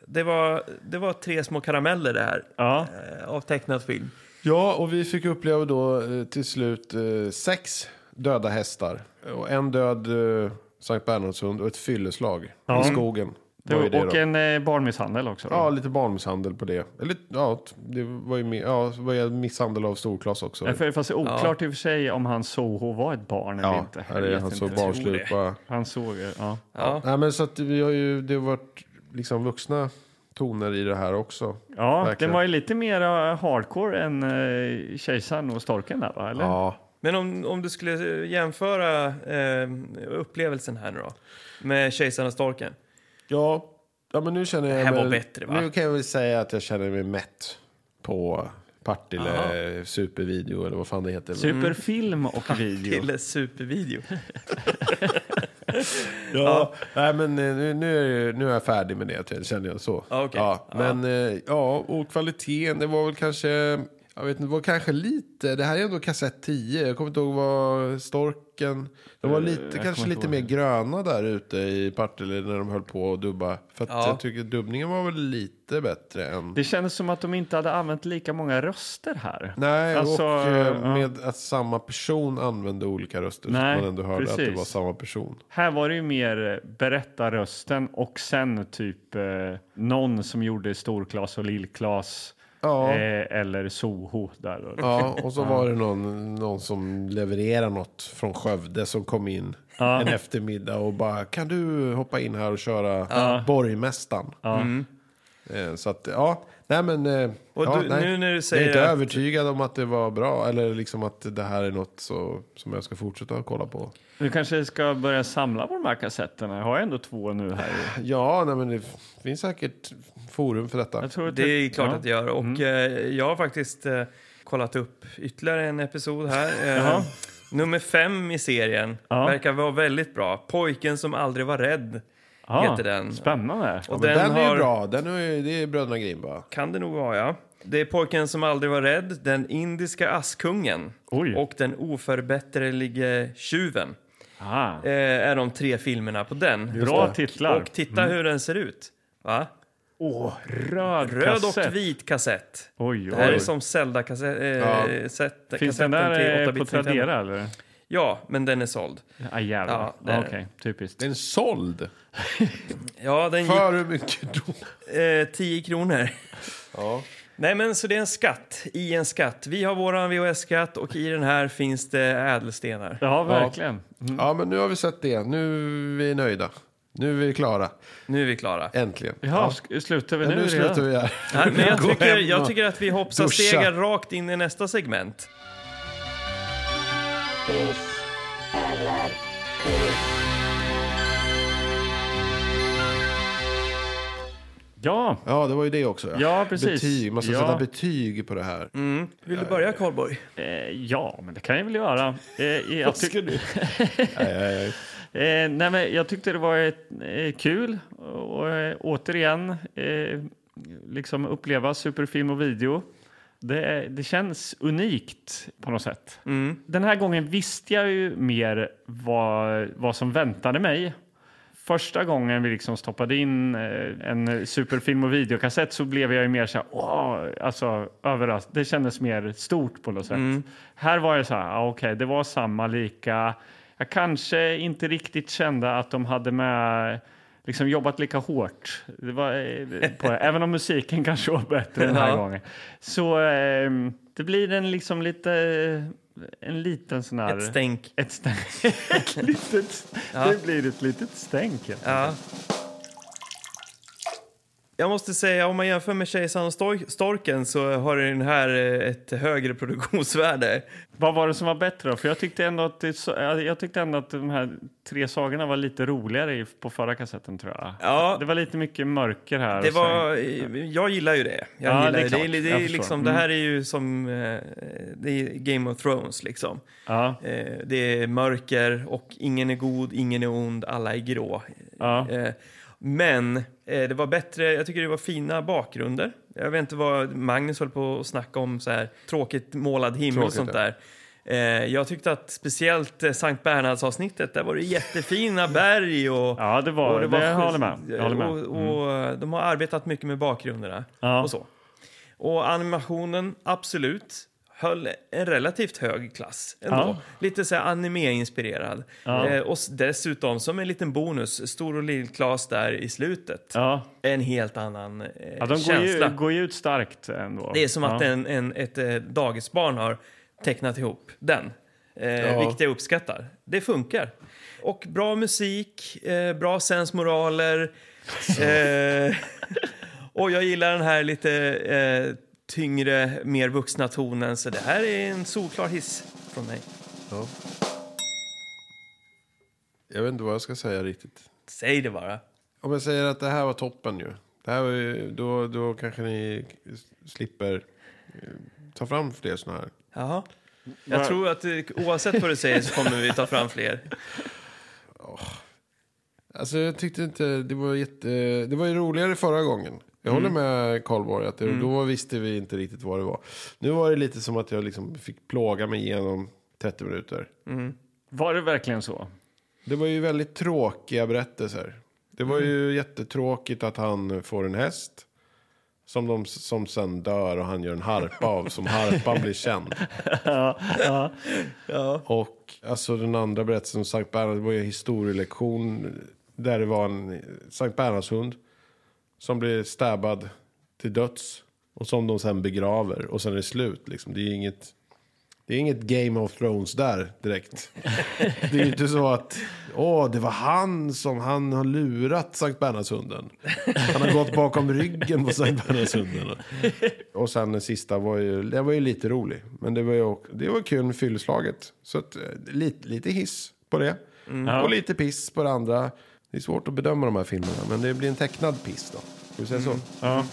det var, det var tre små karameller det här
Ja.
eh, av tecknad film.
Ja, och vi fick uppleva då eh, till slut eh, sex döda hästar. Och en död eh, Sankt Bernhardshund och ett fylleslag
Ja.
i skogen.
Det
var ju
var,
det
och
då.
en eh, barnmisshandel också.
Ja, lite barnmisshandel på det. Eller ja, t- det var ju, mer- ja, det var ju misshandel av storklas också.
Ja, för- Fast det är oklart i och för sig om han Soho var ett barn eller
ja,
inte. Jag
här är
vet
alltså han så
inte.
barnslig
Tror
ut bara.
Han såg det, ja.
Ja.
Nej, men så att vi har ju, det har varit liksom vuxna toner i det här också.
Ja,
Verkligen.
den var ju lite mer eh, hardcore än eh, kejsaren och storken där va? Eller?
Ja,
Men om, om du skulle jämföra eh, upplevelsen här nu då med Kejsaren och storken.
Ja, ja men nu känner jag
Det här
mig...
var bättre, va?
Nu kan jag väl säga att jag känner mig mätt på Partille Supervideo eller vad fan det heter.
Superfilm och video.
Till
[LAUGHS]
supervideo.
Ja, nej men eh, nu, nu, är, jag- nu är jag färdig med det känner jag så.
Ja, okej.
ja, men eh, ja, och kvaliteten, det var väl kanske... Jag vet inte, det var kanske lite, det här är ändå kassett 10, jag kommer inte ihåg vad storken, de var
Eh,
lite,
jag kommer
kanske
inte
lite
ihåg
mer gröna där ute i Partille när de höll på att dubba. För att
Ja.
jag tycker dubbningen var väl lite bättre än...
Det kändes som att de inte hade använt lika många röster här.
Nej,
Alltså,
och eh,
ja.
med att samma person använde olika röster
Nej,
så man ändå hörde att det
precis.
var samma person.
Här var det ju mer berätta rösten och sen typ eh, någon som gjorde Storklas och Lillklas
Ja.
eh, eller Soho. Där och
[LAUGHS]
Ja, och så
Ja.
var det någon, någon som levererar något från Skövde som kom in
Ja.
en eftermiddag och bara kan du hoppa in här och köra
Ja.
borgmästaren?
Ja. Mm.
Eh, Så att, ja, nej men... eh,
Och
ja,
du-
nej.
nu när du
jag
säger
är inte
att-
övertygad om att det var bra eller liksom att det här är något så, som jag ska fortsätta att kolla på.
Du kanske ska börja samla på de här kassetterna. Jag har ändå två nu här.
Ja, nej men det finns säkert forum för detta.
Det är klart att det gör. Och
Mm.
eh, jag har faktiskt eh, kollat upp ytterligare en episod
[LAUGHS]
här. Eh,
Jaha.
nummer fem i serien
Ja.
verkar vara väldigt bra. Pojken som aldrig var rädd
Ja,
heter den.
Spännande.
Ja, men den är ju bra. Den är, ju- det är Bröderna Grimm va?
Kan det nog vara, ja. Det är Pojken som aldrig var rädd, Den indiska askungen och Den oförbätterlige tjuven.
Ah.
Eh, är de tre filmerna på den.
Just Bra
och,
titlar.
Och titta
Mm.
hur den ser ut. Va?
Åh, röd,
Röd
kassett.
och vit kassett.
Oj,
Det här
oj.
är som Zelda-kassetten eh,
Ja.
set-
Finns den
kassetten
där,
till
eh,
8-bit
på
Nintendo.
Tradera, eller?
Ja, men den är såld.
Ah, jävlar.
det är
Okej, typiskt.
Den är såld?
ja, den
För hur mycket [LAUGHS] då?
Eh, 10 kronor. Nej, men så det är en skatt i en skatt. Vi har våran VHS-skatt och i den här finns det ädelstenar.
Ja. ja, men nu har vi sett det. Nu är vi nöjda. Nu är vi klara.
Nu är vi klara.
Äntligen.
Ja, sk- slutar vi
ja,
nu
nu
redan?
slutar vi här.
Nej, men jag,
Gå
tycker,
hem
jag
och
tycker att vi hoppsar
duscha.
stegar rakt in i nästa segment.
Ja.
Ja, det var ju det också.
Ja, precis.
Betyg. Man ska
Ja. Mm.
sätta betyg på det här.
Vill du börja, Karlborg?
Eh, ja, men det kan jag väl göra.
[LAUGHS]
Eh, jag
Vad
tyck-
ska du-
Eh, nej, men jag tyckte det var ett, eh, kul och eh, återigen eh, liksom uppleva superfilm och video. Det, är- det känns unikt på något sätt. Den här gången visste jag ju mer vad, vad som väntade mig. Första gången vi liksom stoppade in eh, en superfilm och videokassett så blev jag ju mer så här, åh, alltså överraskad. Det kändes mer stort på något sätt. Här var jag så här, ah, okej, det var samma, lika. Jag kanske inte riktigt kände att de hade med liksom jobbat lika hårt. Det var, eh, på, även om musiken kanske var bättre den här
Ja.
gången. Så eh, det blir en liksom lite... En liten sån här...
Ett stänk.
Ett stänk. [LAUGHS] ett litet,
Ja.
Det blir ett litet stänk. helt
Ja. Jag måste säga, om man jämför med Kejsaren och Stor- Storken så har den här eh, ett högre produktionsvärde.
Vad var det som var bättre då? För jag tyckte ändå att, det, så- jag tyckte ändå att de här tre sagorna var lite roligare i- på förra kassetten tror jag.
Ja.
Det var lite mycket mörker här.
Det
och sen-
var, jag gillar ju det. Jag
Ja,
gillar
det är
ju
klart.
det, är- det, är
Jag förstår.
liksom, det
Mm.
här är ju som eh, det är Game of Thrones. Liksom.
Ja.
Eh, Det är mörker och ingen är god, ingen är ond, alla är grå.
Ja.
Eh, Men eh, det var bättre, jag tycker det var fina bakgrunder. Jag vet inte vad Magnus höll på att snacka om, så här, tråkigt målad himmel och sånt
Tråkigt, ja.
där. Eh, Jag tyckte att speciellt eh, Sankt Bernhards-avsnittet, där var det jättefina berg och
Ja, det var
och
det.
var-
jag håller med. Jag håller med. Mm.
Och, och De har arbetat mycket med bakgrunderna
Ja.
och så. Och animationen, absolut, höll en relativt hög klass ändå.
Ja.
Lite så här anime-inspirerad.
Ja.
Eh, och s- dessutom, som en liten bonus, Stor och Lill-Klas där i slutet.
Ja.
En helt annan eh,
Ja, de går
känsla.
ju, går ju ut starkt ändå.
Det är som
ja.
att en, en, ett eh, dagisbarn har tecknat ihop den. Eh,
Ja.
Vilket jag uppskattar. Det funkar. Och bra musik, eh, bra sensmoraler. Eh, och jag gillar den här lite eh, tyngre, mer vuxna tonen. Så det här är en solklar hiss från mig.
Ja. Jag vet inte vad jag ska säga riktigt.
Säg det bara.
Om jag säger att det här var toppen ju. Det här var ju då, då kanske ni slipper eh, ta fram fler sådana här.
Jaha. Jag
Va-
tror att eh, oavsett vad du säger så kommer vi ta fram fler.
Alltså jag tyckte inte det var jätte... Det var ju roligare förra gången. Jag håller med Karlborg att det, då visste vi inte riktigt vad det var. Nu var det lite som att jag liksom fick plåga mig igenom 30 minuter.
Var det verkligen så?
Det var ju väldigt tråkiga berättelser. Det var ju jättetråkigt att han får en häst. Som, de, som sen dör och han gör en harpa av, som harpan blir känd. Och alltså den andra berättelsen om Sankt Bernhard, det var ju en historielektion där det var en Sankt Bernhardshund som blir stabbad till döds och som de sen begraver och sen är det slut liksom. Det är ju inget, det är inget Game of Thrones där direkt. Det är ju inte så att, åh, det var han som, han har lurat Sankt Bernhardshunden. Han har gått bakom ryggen på Sankt Bernhardshunden. Och sen den sista var ju, det var ju lite rolig. Men det var ju också, det var kul med fylleslaget. Så att, eh, lite, lite hiss på det.
Mm.
Och lite piss på det andra. Det är svårt att bedöma de här filmerna, men det blir en tecknad piss då. Ska vi säga
Mm.
så?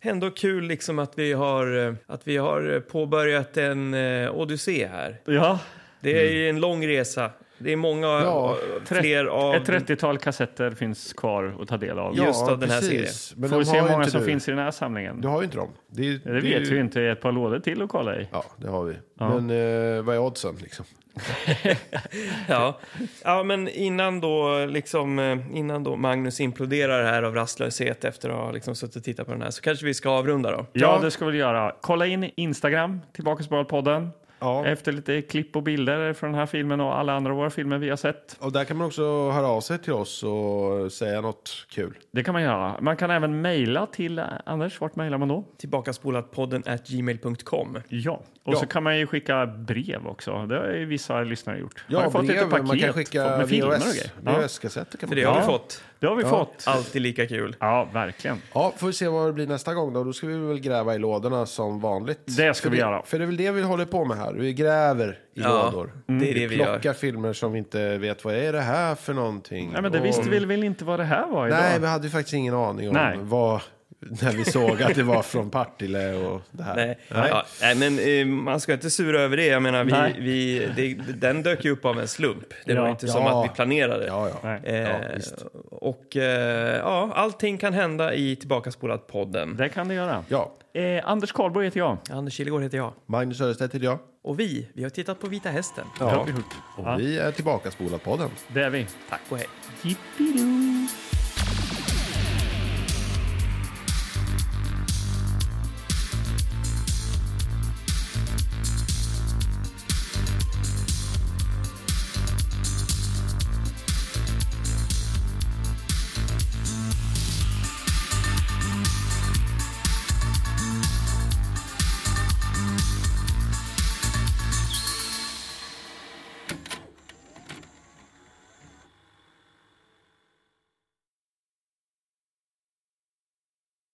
Ändå kul liksom att vi har, eh, att vi har eh, påbörjat en eh, odyssé här.
Ja,
Det är ju en lång resa. Det är många
Ja,
eh,
trett-
fler av...
ett 30-tal kassetter finns kvar att ta del av.
Ja, just av den här serien.
Men
Får vi
de
se
har
hur
ju
många
inte
som
du.
finns i den här samlingen.
Du har ju inte dem. Det, är ju-
det
är
vet
ju-
vi inte. Ett par lådor till att kolla i.
Ja, det har vi. Men eh, vad är oddsen liksom?
Ja. ja, men innan då, liksom, eh, innan då Magnus imploderar här av rastlöshet efter att ha liksom suttit och tittat på den här så kanske vi ska avrunda då.
Ja,
Ja.
det ska vi göra. Kolla in Instagram, Tillbaka till podden.
Ja.
Efter lite klipp och bilder från den här filmen och alla andra våra filmer vi har sett.
Och där kan man också höra av sig till oss och säga något kul.
Det kan man göra. Man kan även mejla till Anders. Vart mejlar man då?
Tillbakaspolad-podden at gmail.com.
Ja, och
Ja.
så kan man ju skicka brev också. Det har ju vissa lyssnare gjort.
Ja,
har ju fått lite paket
man kan skicka
med filmer och
VHS.
grejer. Ja,
VHS-kassetter kan
För
man
det
ja.
har vi
Ja.
fått.
det har vi
Ja.
fått.
Alltid lika kul.
Ja, verkligen.
Ja, får vi se vad det blir nästa gång då. Då ska vi väl gräva i lådorna som vanligt.
Det ska
för
vi göra.
För det är väl det vi håller på med här. Vi gräver i
Ja,
lådor.
det är det vi
plockar
gör.
filmer som vi inte vet vad är det här för någonting.
Nej, men det
Och-
visste vi väl inte vad det här var idag?
Nej, vi hade ju faktiskt ingen aning om
Nej.
vad... När vi såg att det var från Partille och det här.
Nej. Ja, nej, men eh, man ska inte sura över det. Jag menar,
Nej.
vi, vi, det, den dök ju upp av en slump. Det var
Ja.
inte som
Ja.
att vi planerade.
Ja, ja.
Nej.
Eh,
Ja, visst.
och eh, ja, allting kan hända i Tillbakaspolad-podden.
Det kan det göra.
ja.
Eh, Anders Karlborg heter jag.
Anders Kilegård heter jag.
Magnus Örestedt heter jag.
Och vi, vi har tittat på Vita Hästen.
Det har vi gjort. Ja,
Vi är tillbaka spolat podden.
det är vi.
Tack och hej.
Jippidoo.